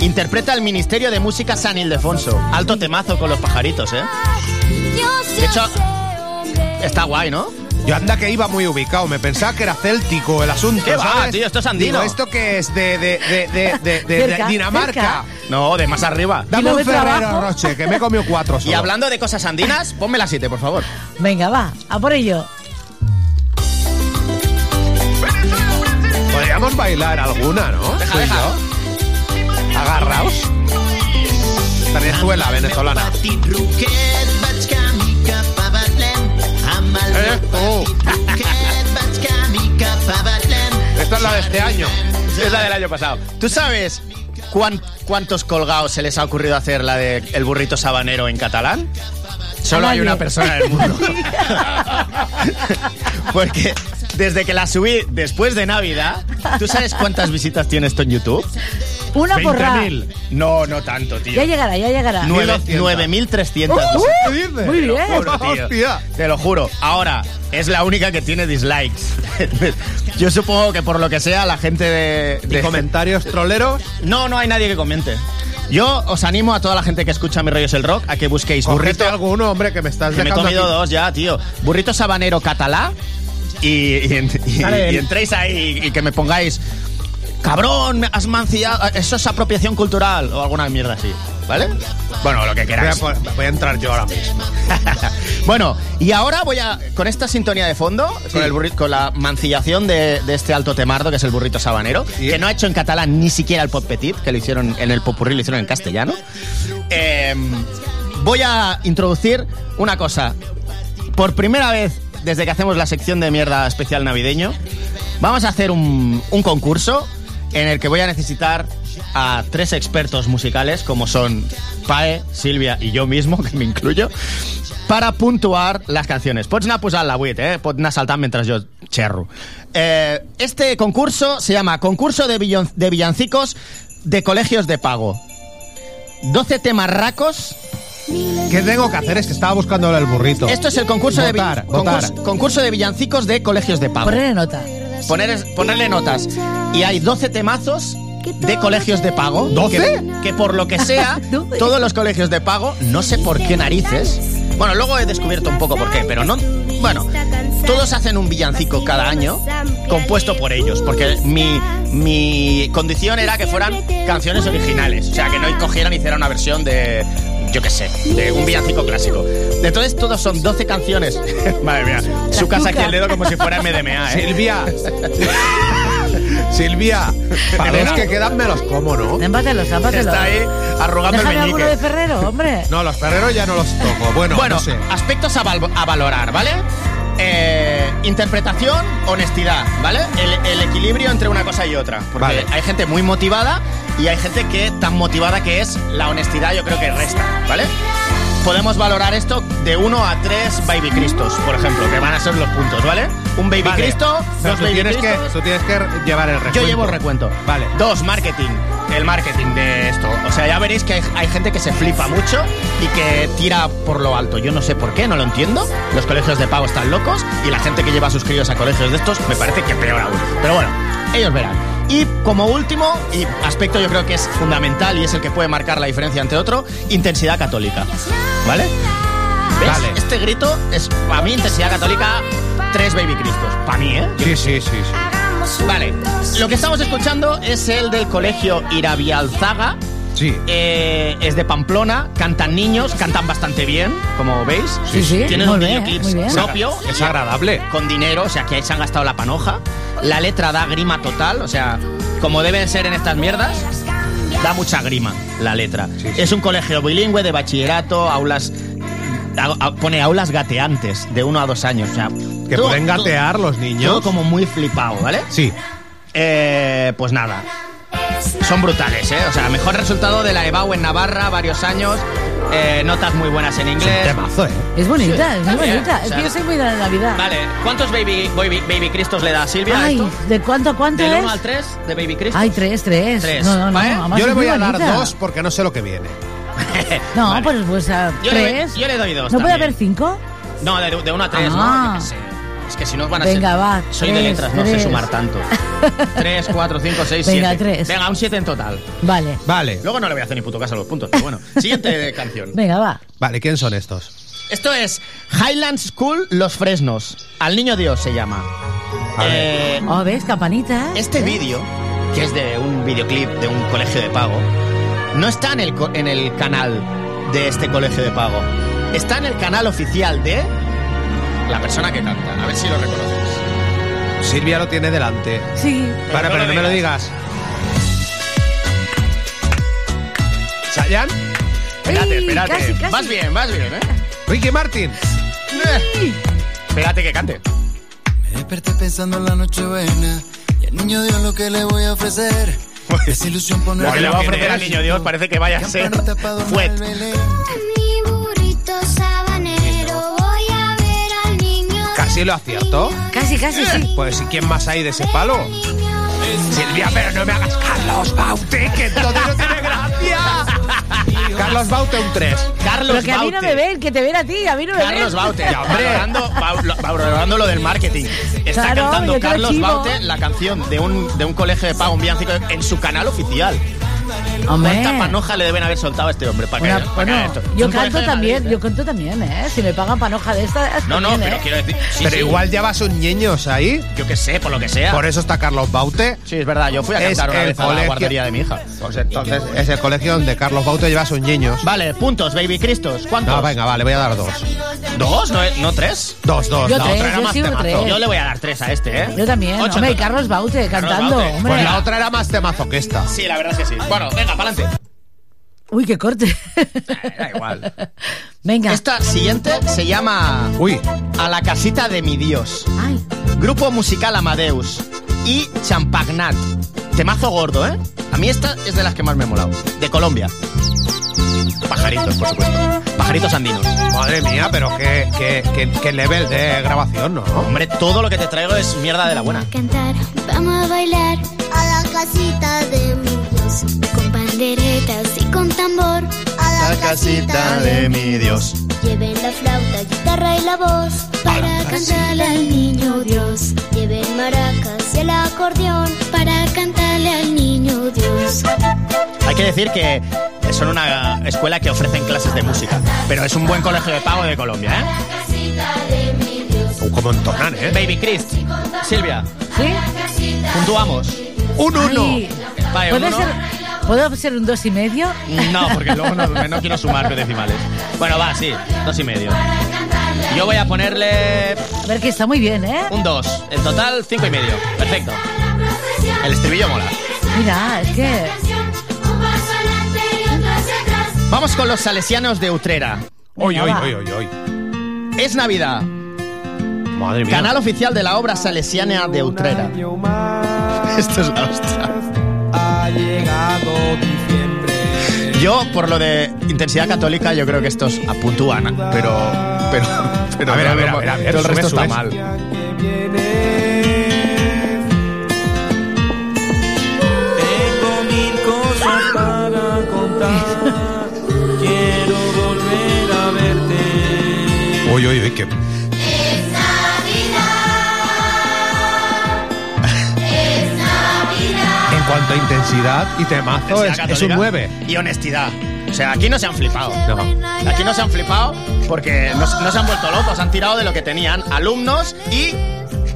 Speaker 8: Interpreta el Ministerio de Música San Ildefonso. Alto temazo con los pajaritos, ¿eh? De hecho, está guay, ¿no?
Speaker 5: Yo anda que iba muy ubicado, me pensaba que era céltico el asunto.
Speaker 8: ¿Qué va,
Speaker 5: ¿sabes?
Speaker 8: tío? Esto es andino.
Speaker 5: Digo, ¿Esto que es? De, de, de, de, de- de- de
Speaker 8: Cerca,
Speaker 5: Dinamarca.
Speaker 8: cerca. No, de más arriba.
Speaker 5: Dame un
Speaker 8: Kilómetro
Speaker 5: Ferrero
Speaker 8: abajo.
Speaker 5: Roche, que me he comido cuatro.
Speaker 8: Y
Speaker 5: solo.
Speaker 8: hablando de cosas andinas, ponme la 7, por favor.
Speaker 10: Venga, va, a por ello.
Speaker 5: Podríamos bailar alguna, ¿no?
Speaker 8: Deja,
Speaker 5: Tú y
Speaker 8: deja.
Speaker 5: yo. Agarraos. Venezuela, venezolana. Eh, oh. Esta es la de este año.
Speaker 8: Es la del año pasado. ¿Tú sabes cuán- cuántos colgados se les ha ocurrido hacer la de el burrito sabanero en catalán? Solo hay
Speaker 6: nadie.
Speaker 8: una persona en el mundo. Porque desde que la subí después de Navidad, ¿tú sabes cuántas visitas tiene esto en YouTube?
Speaker 10: Una porra.
Speaker 8: 20.000. No, no tanto, tío.
Speaker 10: Ya llegará, ya llegará.
Speaker 8: Nueve- 9.300.
Speaker 10: ¡Uh!
Speaker 8: visitas.
Speaker 10: ¿Qué dices? Muy
Speaker 8: Te lo
Speaker 10: bien.
Speaker 8: juro, tío.
Speaker 10: Hostia.
Speaker 8: Te lo juro. Ahora, es la única que tiene dislikes. Yo supongo que por lo que sea, la gente de. de-
Speaker 5: comentarios troleros?
Speaker 8: No, no hay nadie que comente. Yo os animo a toda la gente que escucha Mi Rollo es el Rock a que busquéis burrito.
Speaker 5: alguno, hombre, que me estás
Speaker 8: Que me he
Speaker 5: dejando
Speaker 8: comido
Speaker 5: aquí.
Speaker 8: dos ya, tío. Burrito sabanero catalá. Y, y en- y-
Speaker 5: Dale.
Speaker 8: y entréis ahí y que me pongáis. Cabrón, me has mancillado. Eso es apropiación cultural o alguna mierda así. ¿Vale? Bueno, lo que queráis.
Speaker 5: Voy a, pon- voy a entrar yo ahora mismo.
Speaker 8: bueno, y ahora voy a. Con esta sintonía de fondo, con, el burri- con la mancillación de, de este alto temardo, que es el burrito sabanero, que no ha hecho en catalán ni siquiera el pop petit, que lo hicieron en el popurrí, lo hicieron en castellano. eh, voy a introducir una cosa. Por primera vez desde que hacemos la sección de mierda especial navideño, vamos a hacer un, un concurso en el que voy a necesitar a tres expertos musicales, como son Pae, Silvia y yo mismo, que me incluyo, para puntuar las canciones. Pots anar posant la 8, eh? Pots anar saltant mientras yo cherro. Eh, este concurso se llama Concurso de, Villon- de Villancicos de Colegios de Pago. 12 temarracos
Speaker 5: ¿Qué tengo que hacer? Es que estaba buscando el burrito.
Speaker 8: esto es el concurso de
Speaker 5: Votar,
Speaker 8: vi-
Speaker 5: votar.
Speaker 8: concurso, concurso de villancicos de colegios de pago.
Speaker 10: Ponerle nota.
Speaker 8: Poner- ponerle notas. Y hay 12 temazos de colegios de pago.
Speaker 16: ¿Doce?
Speaker 8: Que, que por lo que sea, todos los colegios de pago, no sé por qué narices. Bueno, luego he descubierto un poco por qué, pero no. Bueno, todos hacen un villancico cada año compuesto por ellos, porque mi, mi condición era que fueran canciones originales, o sea, que no cogieran y hicieran una versión de, yo qué sé, de un villancico clásico. Entonces todos son 12 canciones. Madre mía, su casa aquí el dedo como si fuera MDMA, ¿eh?
Speaker 5: Silvia. Silvia, para los
Speaker 8: Elena.
Speaker 5: que quedan me los como, ¿no?
Speaker 10: Empátelos, empátelos.
Speaker 5: Está ahí arrugando
Speaker 10: Déjame
Speaker 5: el
Speaker 10: alguno
Speaker 5: meñique.
Speaker 10: de Ferrero, hombre.
Speaker 5: No, los perreros ya no los toco. Bueno,
Speaker 8: Bueno,
Speaker 5: no sé.
Speaker 8: aspectos a, val- a valorar, ¿vale? Eh, interpretación, honestidad, ¿vale? El, el equilibrio entre una cosa y otra. Porque
Speaker 5: Vale.
Speaker 8: hay gente muy motivada y hay gente que tan motivada que es la honestidad, yo creo que resta, ¿vale? Podemos valorar esto de 1 a 3 Baby Cristos, por ejemplo, que van a ser los puntos, ¿vale? Un Baby
Speaker 5: Vale.
Speaker 8: Cristo,
Speaker 5: Pero
Speaker 8: dos
Speaker 5: tú
Speaker 8: Baby
Speaker 5: tienes que,
Speaker 8: Cristos.
Speaker 5: tú tienes que llevar el recuento.
Speaker 8: Yo llevo recuento.
Speaker 5: Vale.
Speaker 8: Dos, marketing. El marketing de esto. O sea, ya veréis que hay, hay gente que se flipa mucho y que tira por lo alto. Yo no sé por qué, no lo entiendo. Los colegios de pago están locos y la gente que lleva a sus críos a colegios de estos me parece que peor aún. Pero bueno, ellos verán. Y como último, y aspecto yo creo que es fundamental y es el que puede marcar la diferencia entre otro, intensidad católica. ¿Vale? ¿Ves?
Speaker 5: Vale.
Speaker 8: Este grito es, para mí, intensidad católica, tres baby cristos. Para mí, ¿eh?
Speaker 5: Sí, sí, sí. sí.
Speaker 8: Vale, lo que estamos escuchando es el del colegio Irabialzaga. eh,
Speaker 5: Sí.
Speaker 8: es de Pamplona, cantan niños, cantan bastante bien, como veis.
Speaker 10: Sí, sí,
Speaker 8: Tienen
Speaker 10: muy
Speaker 8: un
Speaker 10: bien,
Speaker 8: videoclip
Speaker 10: muy bien.
Speaker 8: propio.
Speaker 5: Es agradable.
Speaker 8: Con dinero, o sea, que ahí se han gastado la panoja. La letra da grima total, o sea, como deben ser en estas mierdas, da mucha grima la letra. Es un colegio bilingüe de bachillerato, aulas. a- a- pone aulas gateantes de uno a dos años, o sea.
Speaker 5: Que
Speaker 8: todo-
Speaker 5: pueden gatear los niños.
Speaker 8: todo como muy flipado, ¿vale?
Speaker 5: Sí.
Speaker 8: Eh, pues nada. Son brutales, ¿eh? O sea, mejor resultado de la EBAU en Navarra, varios años. eh, notas muy buenas en inglés.
Speaker 5: ¿eh?
Speaker 10: Es bonita, es
Speaker 8: Sí,
Speaker 10: muy
Speaker 8: está bien,
Speaker 10: bonita.
Speaker 8: o
Speaker 10: es
Speaker 8: sea,
Speaker 10: que yo soy muy de la Navidad.
Speaker 8: Vale, ¿cuántos Baby, baby, baby Cristos le da a Silvia? a
Speaker 10: Ay,
Speaker 8: esto?
Speaker 10: ¿de cuánto a cuánto
Speaker 8: ¿Del
Speaker 10: es?
Speaker 8: 1 al 3 de Baby Cristos?
Speaker 10: Ay, tres, tres.
Speaker 8: Tres,
Speaker 10: No, no, no.
Speaker 8: ¿vale?
Speaker 10: además
Speaker 5: Yo le
Speaker 10: es
Speaker 5: voy
Speaker 10: muy
Speaker 5: a dar
Speaker 10: bonita.
Speaker 5: dos porque no sé lo que viene.
Speaker 10: No, pues, pues a
Speaker 8: Yo le doy-
Speaker 10: tres.
Speaker 8: yo le doy dos
Speaker 10: ¿No puede
Speaker 8: también.
Speaker 10: haber cinco?
Speaker 8: No, de, de 1 a 3,
Speaker 10: Ah.
Speaker 8: ¿no? Yo qué sé. Es que si no van a
Speaker 10: Venga,
Speaker 8: ser...
Speaker 10: va,
Speaker 8: Soy de
Speaker 10: tres,
Speaker 8: letras, no
Speaker 10: tres.
Speaker 8: sé sumar tanto. 3, 4, 5, 6, 7.
Speaker 10: Venga, tres.
Speaker 8: Venga, un 7 en total.
Speaker 10: Vale.
Speaker 5: Vale.
Speaker 8: Luego no le voy a hacer ni puto caso a los puntos, pero bueno. Siguiente canción.
Speaker 10: Venga, va.
Speaker 5: Vale, ¿quién son estos?
Speaker 8: Esto es Highland School Los Fresnos. Al niño Dios se llama. Eh,
Speaker 10: Oh, ¿ves? Campanita.
Speaker 8: este vídeo, que es de un videoclip de un colegio de pago, no está en el, co- en el canal de este colegio de pago. Está en el canal oficial de la persona que canta. A ver si lo reconoces.
Speaker 5: Silvia lo tiene delante.
Speaker 10: Sí.
Speaker 5: Para,
Speaker 8: no
Speaker 5: pero no
Speaker 8: lo
Speaker 5: me lo digas. ¿Sayan?
Speaker 8: Espérate, espérate.
Speaker 5: casi, casi.
Speaker 8: Vas bien, vas bien, ¿eh?
Speaker 5: Ricky Martin.
Speaker 8: Eh. Espérate que cante.
Speaker 12: Me desperté pensando en la noche buena y al niño Dios lo que le voy a ofrecer. Desilusión poner
Speaker 8: Lo que le va a ofrecer al niño Dios parece que vaya a ser fuet.
Speaker 15: Mi burrito sabanero, voy a ver al niño.
Speaker 5: Casi lo acierto.
Speaker 10: Casi, casi, sí.
Speaker 5: Pues ¿y quién más hay de ese palo? Silvia, pero no me hagas Carlos Baute, que entonces no tiene gracia. Carlos Baute un 3.
Speaker 10: Pero
Speaker 8: Carlos
Speaker 10: que a mí no me
Speaker 8: Baute.
Speaker 10: ven, que te ven a ti, a mí no me
Speaker 8: Carlos
Speaker 10: ven.
Speaker 8: Baute,
Speaker 5: Ya, hombre.
Speaker 8: valorando, va- valorando lo del marketing. Está
Speaker 10: Claro, yo
Speaker 8: cantando
Speaker 10: creo
Speaker 8: Carlos
Speaker 10: chivo.
Speaker 8: Baute la canción de un, de un colegio de pago, un villancico, en su canal oficial.
Speaker 10: Hombre.
Speaker 8: ¿Cuánta panoja le deben haber soltado a este hombre para que,
Speaker 10: Una-
Speaker 8: para que haga
Speaker 10: bueno,
Speaker 8: esto?
Speaker 10: yo
Speaker 8: Un colegio
Speaker 10: canto
Speaker 8: de
Speaker 10: también,
Speaker 8: Madrid,
Speaker 10: yo canto también, ¿eh? Si me pagan panoja de esta.
Speaker 8: ¿eh? No, no, pero quiero decir. sí,
Speaker 5: pero
Speaker 8: sí,
Speaker 5: igual llevas un ñeños ahí.
Speaker 8: Yo qué sé, por lo que sea.
Speaker 5: Por eso está Carlos Baute.
Speaker 8: Sí, es verdad, yo fui a
Speaker 5: Es
Speaker 8: cantar una
Speaker 5: el
Speaker 8: vez a la
Speaker 5: colegio-
Speaker 8: guardería de mi hija.
Speaker 5: Pues entonces es el colegio donde Carlos Baute lleva sus ñeños.
Speaker 8: Vale, puntos, baby Cristos. ¿Cuántos?
Speaker 5: No, venga, vale, voy a dar dos.
Speaker 8: ¿Dos? ¿No, no tres?
Speaker 5: Dos, dos.
Speaker 10: Yo
Speaker 5: la
Speaker 10: tres,
Speaker 5: otra era
Speaker 10: yo
Speaker 5: más
Speaker 10: sigo
Speaker 5: temazo.
Speaker 10: tres.
Speaker 8: Yo le voy a dar tres a este, ¿eh?
Speaker 10: Yo también,
Speaker 8: Ocho
Speaker 10: hombre,
Speaker 8: en total.
Speaker 10: Carlos Baute
Speaker 8: Carlos
Speaker 10: cantando,
Speaker 8: Baute.
Speaker 10: hombre.
Speaker 5: Pues la otra era más temazo que esta.
Speaker 8: Sí, la verdad es que sí. Bueno, venga, pa'lante.
Speaker 10: Uy, qué corte.
Speaker 8: Eh, Da igual.
Speaker 10: Venga.
Speaker 8: Esta siguiente se llama
Speaker 5: Uy,
Speaker 8: A la casita de mi Dios.
Speaker 10: Ay,
Speaker 8: Grupo musical Amadeus y Champagnat. Temazo gordo, ¿eh? A mí esta es de las que más me ha molado. De Colombia. Pajaritos, por supuesto. Pajaritos andinos.
Speaker 5: madre mía, pero qué, qué, qué- qué level de grabación, ¿no?
Speaker 8: Hombre, todo lo que te traigo es mierda de la buena.
Speaker 15: cantar, vamos a bailar a la casita de mi Dios con panderetas y con tambor.
Speaker 8: La casita de mi Dios.
Speaker 15: Lleven la flauta, guitarra y la voz para cantarle al niño Dios. Lleven maracas y el acordeón para cantarle al niño Dios.
Speaker 8: Hay que decir que son una escuela que ofrecen clases de música, pero es un buen colegio de pago de Colombia, ¿eh?
Speaker 5: Como entonar, ¿eh?
Speaker 8: Baby Chris, Silvia,
Speaker 10: ¿Sí?
Speaker 8: puntuamos.
Speaker 5: Un
Speaker 10: Ay,
Speaker 8: Vale, un
Speaker 10: ¿Puedo
Speaker 8: uno.
Speaker 10: ser, ¿Puedo ser un dos y medio?
Speaker 8: Eh, No, porque luego no, no quiero sumar decimales. Bueno, va, sí, dos y medio. Yo voy a ponerle
Speaker 10: A ver, que está muy bien, ¿eh?
Speaker 8: un dos. En total, cinco y medio. Perfecto. El estribillo mola.
Speaker 10: Mira, es que...
Speaker 8: Vamos con los salesianos de Utrera.
Speaker 5: Hoy, hoy, hoy, hoy, hoy.
Speaker 8: Es Navidad.
Speaker 5: Madre mía.
Speaker 8: Canal oficial de la obra salesiana de Utrera. Esto es la hostia.
Speaker 6: Ha llegado diciembre.
Speaker 8: Yo, por lo de intensidad católica, yo creo que estos apuntúan, pero. Pero. pero
Speaker 5: A ver, a ver,
Speaker 8: no,
Speaker 5: a ver, a ver,
Speaker 8: todo el
Speaker 5: sube,
Speaker 8: resto
Speaker 5: sube.
Speaker 8: está mal.
Speaker 6: Tengo mil cosas para contar. Quiero volver a verte.
Speaker 5: Uy, uy, uy, que. En cuanto a intensidad y temazo, es,
Speaker 8: Intensidad
Speaker 5: es un
Speaker 8: católica
Speaker 5: 9.
Speaker 8: Y honestidad. O sea, aquí no se han flipado. Aquí no se han flipado porque no, se- no se han vuelto locos, han tirado de lo que tenían alumnos y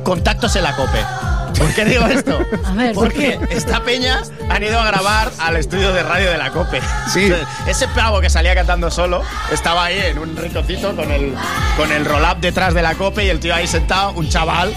Speaker 8: contactos en la COPE. ¿Por qué digo esto?
Speaker 10: A ver, ¿por
Speaker 8: Porque esta peña han ido a grabar al estudio de radio de la COPE. Sí. Ese pavo que salía cantando solo estaba ahí en un rinconcito con el, con el roll-up detrás de la COPE y el tío ahí sentado, un chaval.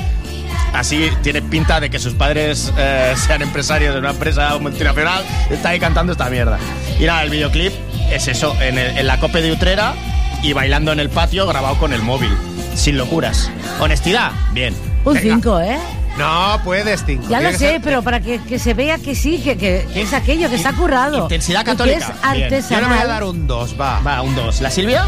Speaker 8: Así tiene pinta de que sus padres eh, sean empresarios de una empresa multinacional. Está ahí cantando esta mierda. Y nada, el videoclip es eso, en, el- en la COPE de Utrera y bailando en el patio grabado con el móvil. Sin locuras. Honestidad, bien.
Speaker 10: Un
Speaker 8: Venga.
Speaker 10: 5, ¿eh?
Speaker 5: No puedes, cinco.
Speaker 10: Ya lo
Speaker 8: Tiene que
Speaker 10: sé,
Speaker 8: ser-
Speaker 10: pero para que, que se vea que sí, que, que es aquello, que está currado.
Speaker 8: Intensidad
Speaker 10: y que
Speaker 8: católica.
Speaker 10: es
Speaker 8: Bien.
Speaker 10: artesanal.
Speaker 8: Yo le voy a dar un 2, va. Va, un 2. ¿La Silvia?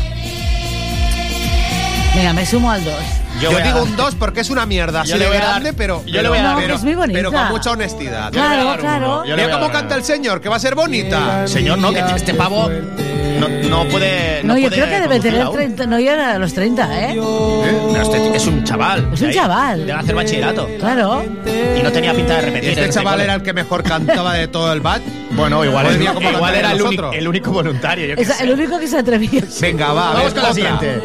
Speaker 10: Venga, me sumo al 2.
Speaker 5: Yo,
Speaker 8: voy a-
Speaker 5: digo un 2 porque es una mierda. Así
Speaker 8: Yo le
Speaker 5: de
Speaker 8: voy a dar-
Speaker 5: grande, pero.
Speaker 8: yo le voy a
Speaker 5: pero-
Speaker 8: dar- No,
Speaker 5: pero-
Speaker 8: que es muy bonita.
Speaker 5: Pero con mucha honestidad.
Speaker 8: Yo le voy a Claro, dar un claro. uno. Yo le voy
Speaker 5: Mira
Speaker 8: a
Speaker 5: cómo
Speaker 8: dar un
Speaker 5: canta el señor, que va a ser bonita.
Speaker 8: Señor, no, que este pavo no, Eh, no puede.
Speaker 10: No, yo
Speaker 8: puede
Speaker 10: creo que debe
Speaker 8: conducir
Speaker 10: tener
Speaker 8: aún.
Speaker 10: 30, no llega a los 30, ¿eh?
Speaker 8: Pero este es un chaval.
Speaker 10: Es un
Speaker 8: Ahí.
Speaker 10: chaval.
Speaker 8: Debe hacer bachillerato.
Speaker 10: Claro.
Speaker 8: Y no tenía pinta de repetir.
Speaker 5: Este chaval era el que mejor cantaba de todo el batch.
Speaker 8: Bueno, igual,
Speaker 5: Madre
Speaker 8: el-
Speaker 5: mía, cómo
Speaker 8: igual
Speaker 5: cantan
Speaker 8: era el,
Speaker 5: los
Speaker 8: único-
Speaker 5: otros.
Speaker 8: el único voluntario. yo qué
Speaker 10: Es
Speaker 8: sé.
Speaker 10: el único que se atrevió.
Speaker 5: Venga, va. a
Speaker 8: Vamos
Speaker 5: ver,
Speaker 8: con la
Speaker 5: otra.
Speaker 8: siguiente.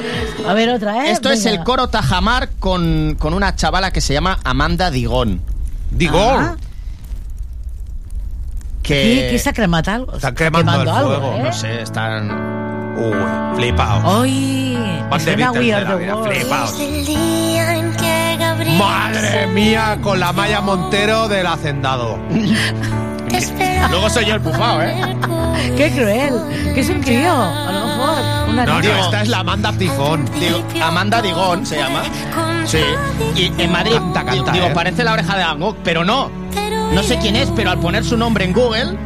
Speaker 10: A ver, otra, ¿eh?
Speaker 8: Esto es
Speaker 10: Venga.
Speaker 8: el coro Tajamar con, con una chavala que se llama Amanda Digón.
Speaker 5: Digón.
Speaker 10: Ah.
Speaker 8: Que, Eh,
Speaker 10: ¿Qué, qué está cremata algo?
Speaker 5: Está quemando el
Speaker 10: algo,
Speaker 5: fuego,
Speaker 10: ¿eh?
Speaker 8: no sé, están.
Speaker 5: Uy, flipado.
Speaker 10: Ay,
Speaker 5: Van de
Speaker 10: suena
Speaker 5: Beatles
Speaker 10: We
Speaker 5: de
Speaker 10: Are
Speaker 5: la
Speaker 10: the
Speaker 5: vida,
Speaker 10: World.
Speaker 5: flipaos.
Speaker 15: El día en que Gabriel
Speaker 5: Madre mía, con la Maya Montero del hacendado.
Speaker 15: te esperaba
Speaker 8: Luego soy yo el bufao, ¿eh?
Speaker 10: Qué cruel. Que es un crío, a lo mejor. Una
Speaker 5: No, no,
Speaker 10: niña.
Speaker 5: esta es la Amanda Tifón.
Speaker 8: Digo, Amanda Digón se llama. Sí. Y en Madrid,
Speaker 5: Canta, canta,
Speaker 8: digo,
Speaker 5: eh.
Speaker 8: parece la oreja de Van Gogh, pero no. No sé quién es, pero al poner su nombre en Google,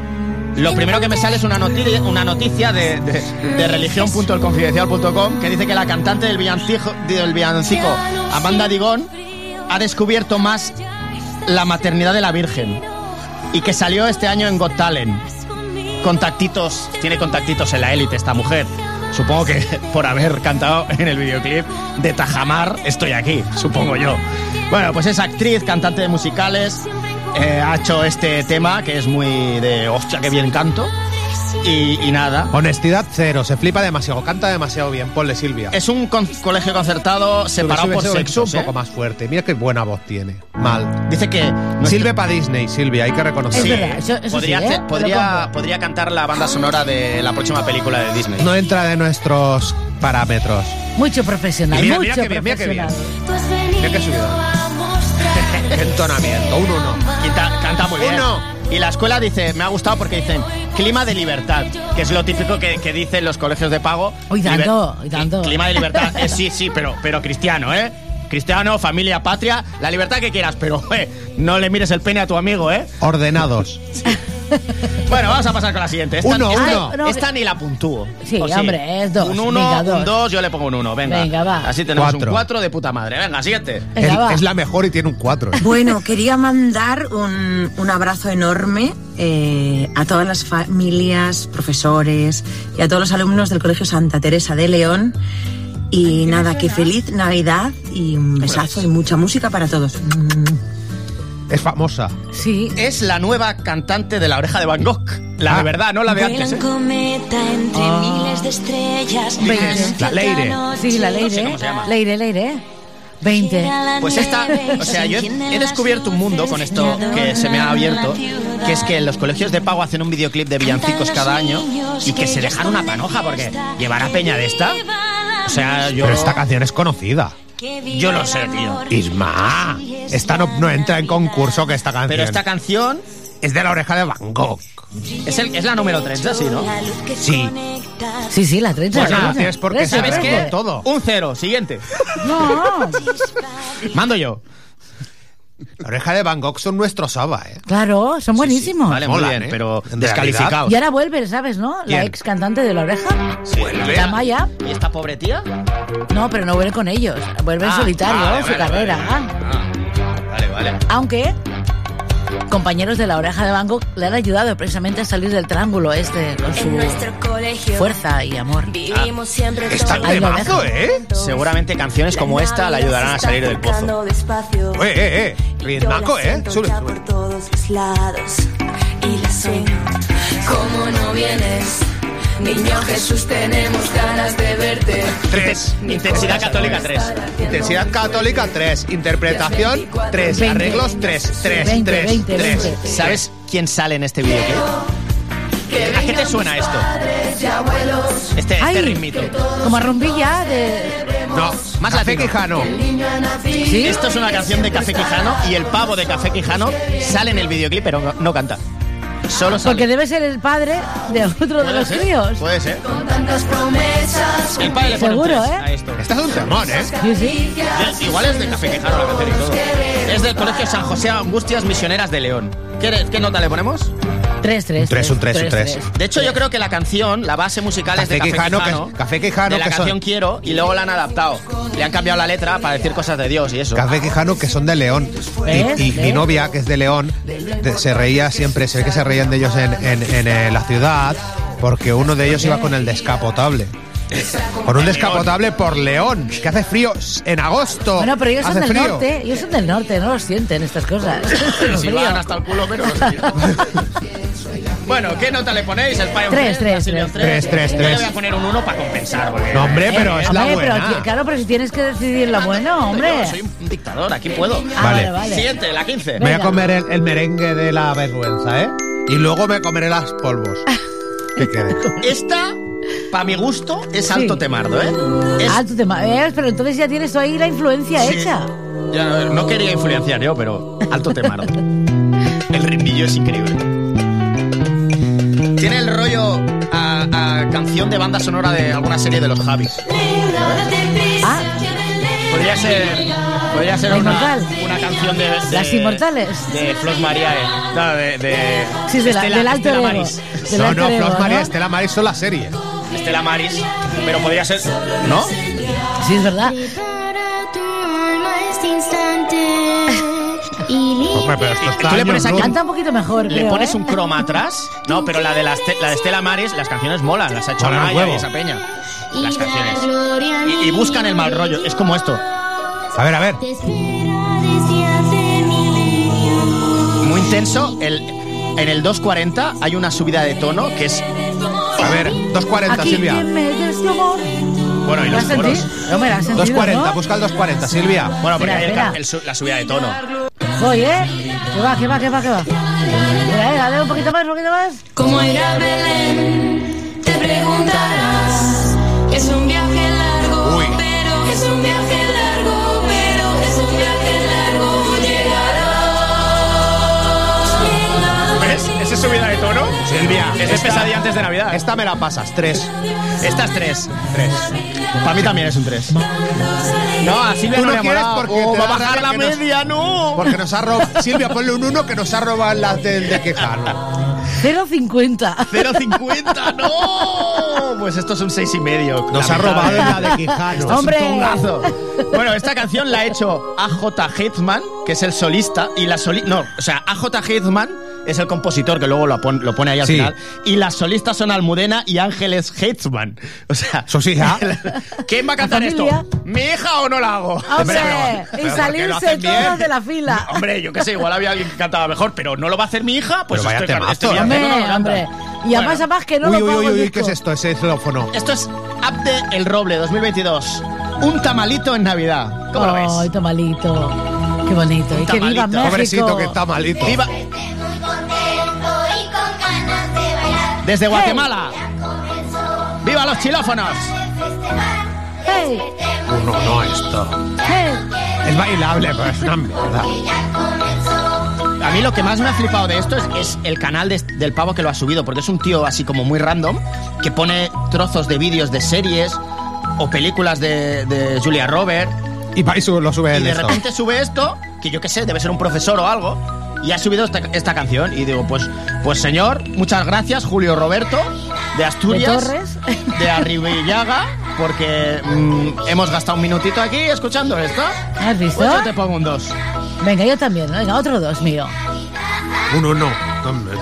Speaker 8: lo primero que me sale es una noticia, una noticia de, de, de religión.elconfidencial.com que dice que la cantante del villancico, del villancico Amanda Digón ha descubierto más la maternidad de la Virgen y que salió este año en Got Talent. Contactitos, tiene contactitos en la élite esta mujer. Supongo que por haber cantado en el videoclip de Tajamar estoy aquí, supongo yo. Bueno, pues es actriz, cantante de musicales, eh, ha hecho este tema que es muy de hostia, que bien canto. Y, y nada.
Speaker 5: Honestidad cero, se flipa demasiado, canta demasiado bien. Ponle Silvia.
Speaker 8: Es un con- colegio concertado separado
Speaker 5: Sube,
Speaker 8: por
Speaker 5: sube, sube,
Speaker 8: sexos.
Speaker 5: un
Speaker 8: ¿eh?
Speaker 5: poco más fuerte. Mira qué buena voz tiene. Mal.
Speaker 8: Dice que
Speaker 5: Sirve para Disney, Silvia, hay que
Speaker 10: Es
Speaker 5: reconocerlo.
Speaker 10: verdad, eso, eso
Speaker 8: podría,
Speaker 10: sí, ¿eh?
Speaker 8: hacer- podría, podría cantar la banda sonora de la próxima película de Disney.
Speaker 5: No entra de nuestros parámetros.
Speaker 10: Mucho profesional,
Speaker 5: Y mira,
Speaker 10: mucho
Speaker 5: mira qué bien, mira qué bien.
Speaker 10: profesional.
Speaker 5: Mira qué subida. Qué entonamiento, un uno.
Speaker 8: Y ta- canta muy bien.
Speaker 5: Uno.
Speaker 8: Y la escuela dice, me ha gustado porque dicen clima de libertad, que es lo típico que, que dicen los colegios de pago.
Speaker 10: Hoy dando, hoy dando.
Speaker 8: Clima de libertad, eh, sí, sí, pero, pero cristiano, ¿eh? Cristiano, familia, patria, la libertad que quieras, pero eh, no le mires el pene a tu amigo, ¿eh?
Speaker 5: Ordenados.
Speaker 8: Bueno, vamos a pasar con la siguiente. Esta,
Speaker 10: Uno,
Speaker 8: esta-
Speaker 10: uno.
Speaker 8: esta ni la puntúo.
Speaker 10: Sí,
Speaker 8: ¿O
Speaker 10: hombre, es dos.
Speaker 8: Un 1,
Speaker 10: Venga,
Speaker 8: un
Speaker 10: dos.
Speaker 8: 2, yo le pongo un 1. Venga.
Speaker 10: Venga, va.
Speaker 8: Así tenemos
Speaker 5: Cuatro.
Speaker 8: un 4 de puta madre. Venga, siguiente.
Speaker 10: Venga, va.
Speaker 5: es la mejor y tiene un ¿eh? 4.
Speaker 16: Bueno, quería mandar un, un abrazo enorme eh, a todas las familias, profesores y a todos los alumnos del Colegio Santa Teresa de León. Y nada, que feliz Navidad y un besazo y mucha música para todos.
Speaker 5: Es famosa.
Speaker 10: Sí.
Speaker 8: Es la nueva cantante de La Oreja de Van Gogh. La de verdad, no la de antes. ¿eh?
Speaker 17: cometa entre
Speaker 8: Ah.
Speaker 17: miles de estrellas.
Speaker 8: La Leire.
Speaker 10: Sí, la Eh,
Speaker 8: No sé
Speaker 10: Leire.
Speaker 8: cómo se llama.
Speaker 10: Leire, Leire. 20.
Speaker 8: Pues esta, o sea, yo he he descubierto un mundo con esto que se me ha abierto, que es que los colegios de pago hacen un videoclip de villancicos cada año y que se dejan una panoja porque llevar a Peña de esta, o sea, yo
Speaker 5: Pero esta canción es conocida.
Speaker 8: yo lo sé, tío.
Speaker 5: Isma, esta no, no entra en concurso que esta canción.
Speaker 8: Pero esta canción
Speaker 5: es de la oreja de Van Gogh.
Speaker 8: es, el- es la número 30, sí, ¿no?
Speaker 5: Sí.
Speaker 10: Sí, sí, la 30.
Speaker 8: Pues
Speaker 10: la
Speaker 8: nada,
Speaker 10: 30.
Speaker 8: tienes por qué
Speaker 10: Trece,
Speaker 8: saber
Speaker 10: trece.
Speaker 8: que todo. Un cero, siguiente.
Speaker 10: No.
Speaker 8: Mando yo.
Speaker 5: La oreja de Van Gogh son nuestro Saba, ¿eh?
Speaker 10: Claro, son buenísimos.
Speaker 8: Vale, muy bien, pero descalificados.
Speaker 10: Y ahora vuelve, ¿sabes, no? La
Speaker 8: ¿Quién?
Speaker 10: ex cantante de La Oreja.
Speaker 8: Vuelve.
Speaker 10: Tamaya.
Speaker 8: ¿Y esta pobre tía?
Speaker 10: No, pero no vuelve con ellos. Vuelve en
Speaker 8: Ah,
Speaker 10: solitario,
Speaker 8: vale,
Speaker 10: su
Speaker 8: vale,
Speaker 10: carrera.
Speaker 8: vale. Ah, Vale, vale.
Speaker 10: Aunque compañeros de la oreja de Van Gogh le han ayudado precisamente a salir del triángulo este con su
Speaker 17: colegio
Speaker 10: fuerza y amor.
Speaker 8: Ah,
Speaker 17: vivimos siempre
Speaker 10: Está
Speaker 17: todos
Speaker 10: Ahí lo temazo, dejo.
Speaker 8: ¿eh? Seguramente canciones como esta la ayudarán a salir del pozo.
Speaker 17: tocando despacio.
Speaker 8: Eh, eh, eh.
Speaker 5: Riendaco, ¿eh? Sube, sube.
Speaker 17: por todos los lados y la sueño. Como no vienes, niño Jesús, tenemos ganas de verte.
Speaker 5: 3.
Speaker 8: Intensidad católica 3.
Speaker 5: Intensidad católica 3. Interpretación 3.
Speaker 8: Veinte.
Speaker 5: Arreglos 3. 3. 3. 3.
Speaker 8: ¿Sabes quién sale en este videoclip? ¿A qué te suena esto? Este, este
Speaker 10: Ay.
Speaker 8: ritmito.
Speaker 10: Como a rumbilla de...
Speaker 8: No, más Café Quijano.
Speaker 10: ¿Sí?
Speaker 8: Esto es una canción de Café Quijano y el pavo de Café Quijano sale en el videoclip, pero no, no canta. Solo sale.
Speaker 10: Porque debe ser el padre de otro de
Speaker 8: Puede
Speaker 10: los
Speaker 8: ser,
Speaker 10: críos.
Speaker 8: Puede ser.
Speaker 17: promesas.
Speaker 8: El padre le pone un
Speaker 10: Seguro,
Speaker 8: tres
Speaker 10: ¿eh?
Speaker 8: a esto. Esta es un temón, ¿eh?
Speaker 10: Sí, sí.
Speaker 8: Igual es de Café Quijano la canción y todo. Es del Colegio San José Angustias Misioneras de León. ¿Qué, qué nota le ponemos?
Speaker 10: 3, 3.
Speaker 5: tres, un tres, un tres.
Speaker 8: De hecho, yo creo que la canción, la base musical es de
Speaker 5: Café
Speaker 8: Café
Speaker 5: Quijano,
Speaker 8: Quijano,
Speaker 5: que- Café Quijano,
Speaker 8: de la
Speaker 5: que son-
Speaker 8: canción Quiero, y luego la han adaptado. Le han cambiado la letra para decir cosas de Dios y eso.
Speaker 5: Café Quijano, que son de León.
Speaker 8: ¿Ves?
Speaker 5: Y, y mi
Speaker 8: ¿Ves?
Speaker 5: novia, que es de León, de- se reía siempre, se ve que se reían de ellos en, en- en, eh, la ciudad, porque uno de ellos iba con el descapotable. Con un descapotable por León, que hace frío en agosto.
Speaker 10: Bueno, pero ellos son
Speaker 5: hace
Speaker 10: del
Speaker 5: frío.
Speaker 10: norte, ellos son del norte, no lo sienten estas cosas. Los
Speaker 8: Si
Speaker 10: fríos.
Speaker 8: van hasta el culo, pero no sé. Bueno, ¿qué nota le ponéis? El Fire
Speaker 10: Tres, tres, tres. Tres, tres,
Speaker 8: Yo le
Speaker 10: tres.
Speaker 8: voy a poner un 1 para compensar. porque-
Speaker 5: No, hombre, pero es la
Speaker 10: Eh, Hombre, pero
Speaker 5: buena.
Speaker 10: ti- claro, pero si tienes que decidir lo bueno, hombre. Ah,
Speaker 8: Soy un dictador, aquí puedo.
Speaker 5: Ah, Vale. vale, vale.
Speaker 8: Siguiente, la 15.
Speaker 5: Voy a comer el, el merengue de la vergüenza, ¿eh? Y luego me comeré las polvos. Que quede.
Speaker 8: Esta, para mi gusto, es alto temardo, ¿eh?
Speaker 10: Ah, tú te ma- ¿ves? Pero entonces ya tienes tú ahí la influencia hecha.
Speaker 8: Ya, no, no quería influenciar yo, pero alto temardo. el ritmillo es increíble. Tiene el rollo a, a canción de banda sonora de alguna serie de los Javis.
Speaker 10: Ah,
Speaker 8: Podría ser, podría ser
Speaker 10: La
Speaker 8: una,
Speaker 10: Inmortal.
Speaker 8: una canción de, de-
Speaker 10: Las Inmortales.
Speaker 8: de Flos Mariae. No, de, de
Speaker 10: Sí, de la- del alter
Speaker 8: Estela
Speaker 10: ego.
Speaker 8: Maris.
Speaker 10: Del No, alter no, ego, Flos ¿no? Mariae,
Speaker 5: Estela Maris son la serie.
Speaker 8: Estela Maris, pero podría ser, ¿no?
Speaker 10: Sí, es verdad.
Speaker 8: Tú le pones aquí-
Speaker 10: Canta un poquito mejor,
Speaker 8: Le
Speaker 10: creo,
Speaker 8: pones
Speaker 10: ¿eh?
Speaker 8: un croma atrás. No, pero la de, la, Este- la de Estela Maris, las canciones molan, las ha hecho
Speaker 5: Molan un
Speaker 8: Amaya y
Speaker 5: huevo.
Speaker 8: esa peña. Las canciones. Y, y buscan el mal rollo. Es como esto.
Speaker 5: A ver, a ver.
Speaker 8: Muy intenso. El, en el 240 hay una subida de tono que es. A
Speaker 5: ver, 240,
Speaker 10: Aquí quien me des tu amor.
Speaker 8: Bueno, y
Speaker 10: ¿Lo
Speaker 8: los
Speaker 10: has sentido?
Speaker 8: coros.
Speaker 10: Hombre, ¿lo has sentido,
Speaker 5: 240,
Speaker 10: no?
Speaker 5: busca el 240, Silvia.
Speaker 8: Bueno, porque
Speaker 10: Espera,
Speaker 8: hay el ca-
Speaker 10: espera.
Speaker 8: el su- la subida de tono. pues.
Speaker 10: Voy, ¿eh? Que va, que va, que va, que va. Mira, eh, dale un poquito más, un poquito más.
Speaker 17: Como ir a Belén, te preguntarás. Es un viaje largo,
Speaker 10: Uy.
Speaker 17: pero es un viaje largo, pero es un viaje largo.
Speaker 8: ¿Ves? Esa subida de tono.
Speaker 5: Silvia.
Speaker 8: Es de pesadilla antes de Navidad.
Speaker 5: Esta me la pasas, 3.
Speaker 8: Estas tres. Tres. Para mí también es un tres. No, a Silvia
Speaker 5: Tú
Speaker 8: no,
Speaker 5: no
Speaker 8: le ha
Speaker 5: quieres
Speaker 8: molado.
Speaker 5: porque
Speaker 8: Oh,
Speaker 5: te
Speaker 8: va a
Speaker 5: da
Speaker 8: bajar la
Speaker 5: rabia que nos-
Speaker 8: media, no.
Speaker 5: Porque nos ha robado. Silvia, ponle un 1 que nos ha robado las del de Quejano.
Speaker 10: 0,50.
Speaker 8: 0,50, no. Pues esto es un 6 y medio.
Speaker 5: Nos ha robado la de Quijano.
Speaker 8: Esto es Pues un
Speaker 5: Hombre.
Speaker 8: tongazo. Bueno, esta canción la ha hecho AJ Hitman, que es el solista, y la soli no, o sea, AJ Hitman es el compositor que luego lo, pon- lo pone ahí al
Speaker 5: Sí.
Speaker 8: final y las solistas son Almudena y Ángeles Hitman. O sea, ¿Quién va a cantar esto?
Speaker 10: familia. Ah,
Speaker 8: ¿Mi hija o no la hago?
Speaker 10: Hombre,
Speaker 8: pero
Speaker 10: y
Speaker 8: porque lo
Speaker 10: salirse
Speaker 8: hacen bien.
Speaker 10: todos de la fila.
Speaker 8: Hombre, yo qué sé, igual había alguien que cantaba mejor, pero no lo va a hacer mi hija, pues
Speaker 5: Pero vaya
Speaker 8: estoy-
Speaker 5: temazo,
Speaker 8: estoy
Speaker 5: ¿eh?
Speaker 8: haciendo una
Speaker 10: Hombre,
Speaker 8: garganta.
Speaker 10: hombre. Y además, además que no lo
Speaker 5: uy, uy,
Speaker 10: pago
Speaker 5: uy,
Speaker 10: el
Speaker 5: uy,
Speaker 10: disco.
Speaker 5: ¿qué es esto? Ese xilófono.
Speaker 8: Esto es Abde el Roble 2022. Un tamalito en Navidad. ¿Cómo lo ves?
Speaker 10: Ay, tamalito. Qué bonito. Y que viva
Speaker 8: Tamalito.
Speaker 10: México.
Speaker 8: Pobrecito, que está malito. Viva- Desde
Speaker 10: Hey.
Speaker 8: Guatemala. ¡Viva los chilófonos!
Speaker 10: Hey,
Speaker 5: Uno, no, esto.
Speaker 10: hey.
Speaker 5: Es bailable, pero es una mierda.
Speaker 8: A mí lo que más me ha flipado de esto es, es el canal de- del pavo que lo ha subido, porque es un tío así como muy random, que pone trozos de vídeos de series o películas de, de Julia Roberts.
Speaker 5: Y pa- y su- lo sube
Speaker 8: Y
Speaker 5: él
Speaker 8: de
Speaker 5: esto.
Speaker 8: repente sube esto, que yo qué sé, debe ser un profesor o algo, y ha subido esta, esta canción. Y digo, pues, pues señor, muchas gracias, Julio Roberto, de Asturias,
Speaker 10: ¿De Torres?
Speaker 8: de Arribillaga, porque mm, hemos gastado un minutito aquí escuchando esto.
Speaker 10: ¿Has visto?
Speaker 8: Pues yo te pongo un dos.
Speaker 10: Venga, yo también. Venga, otro dos mío.
Speaker 5: Uno, no.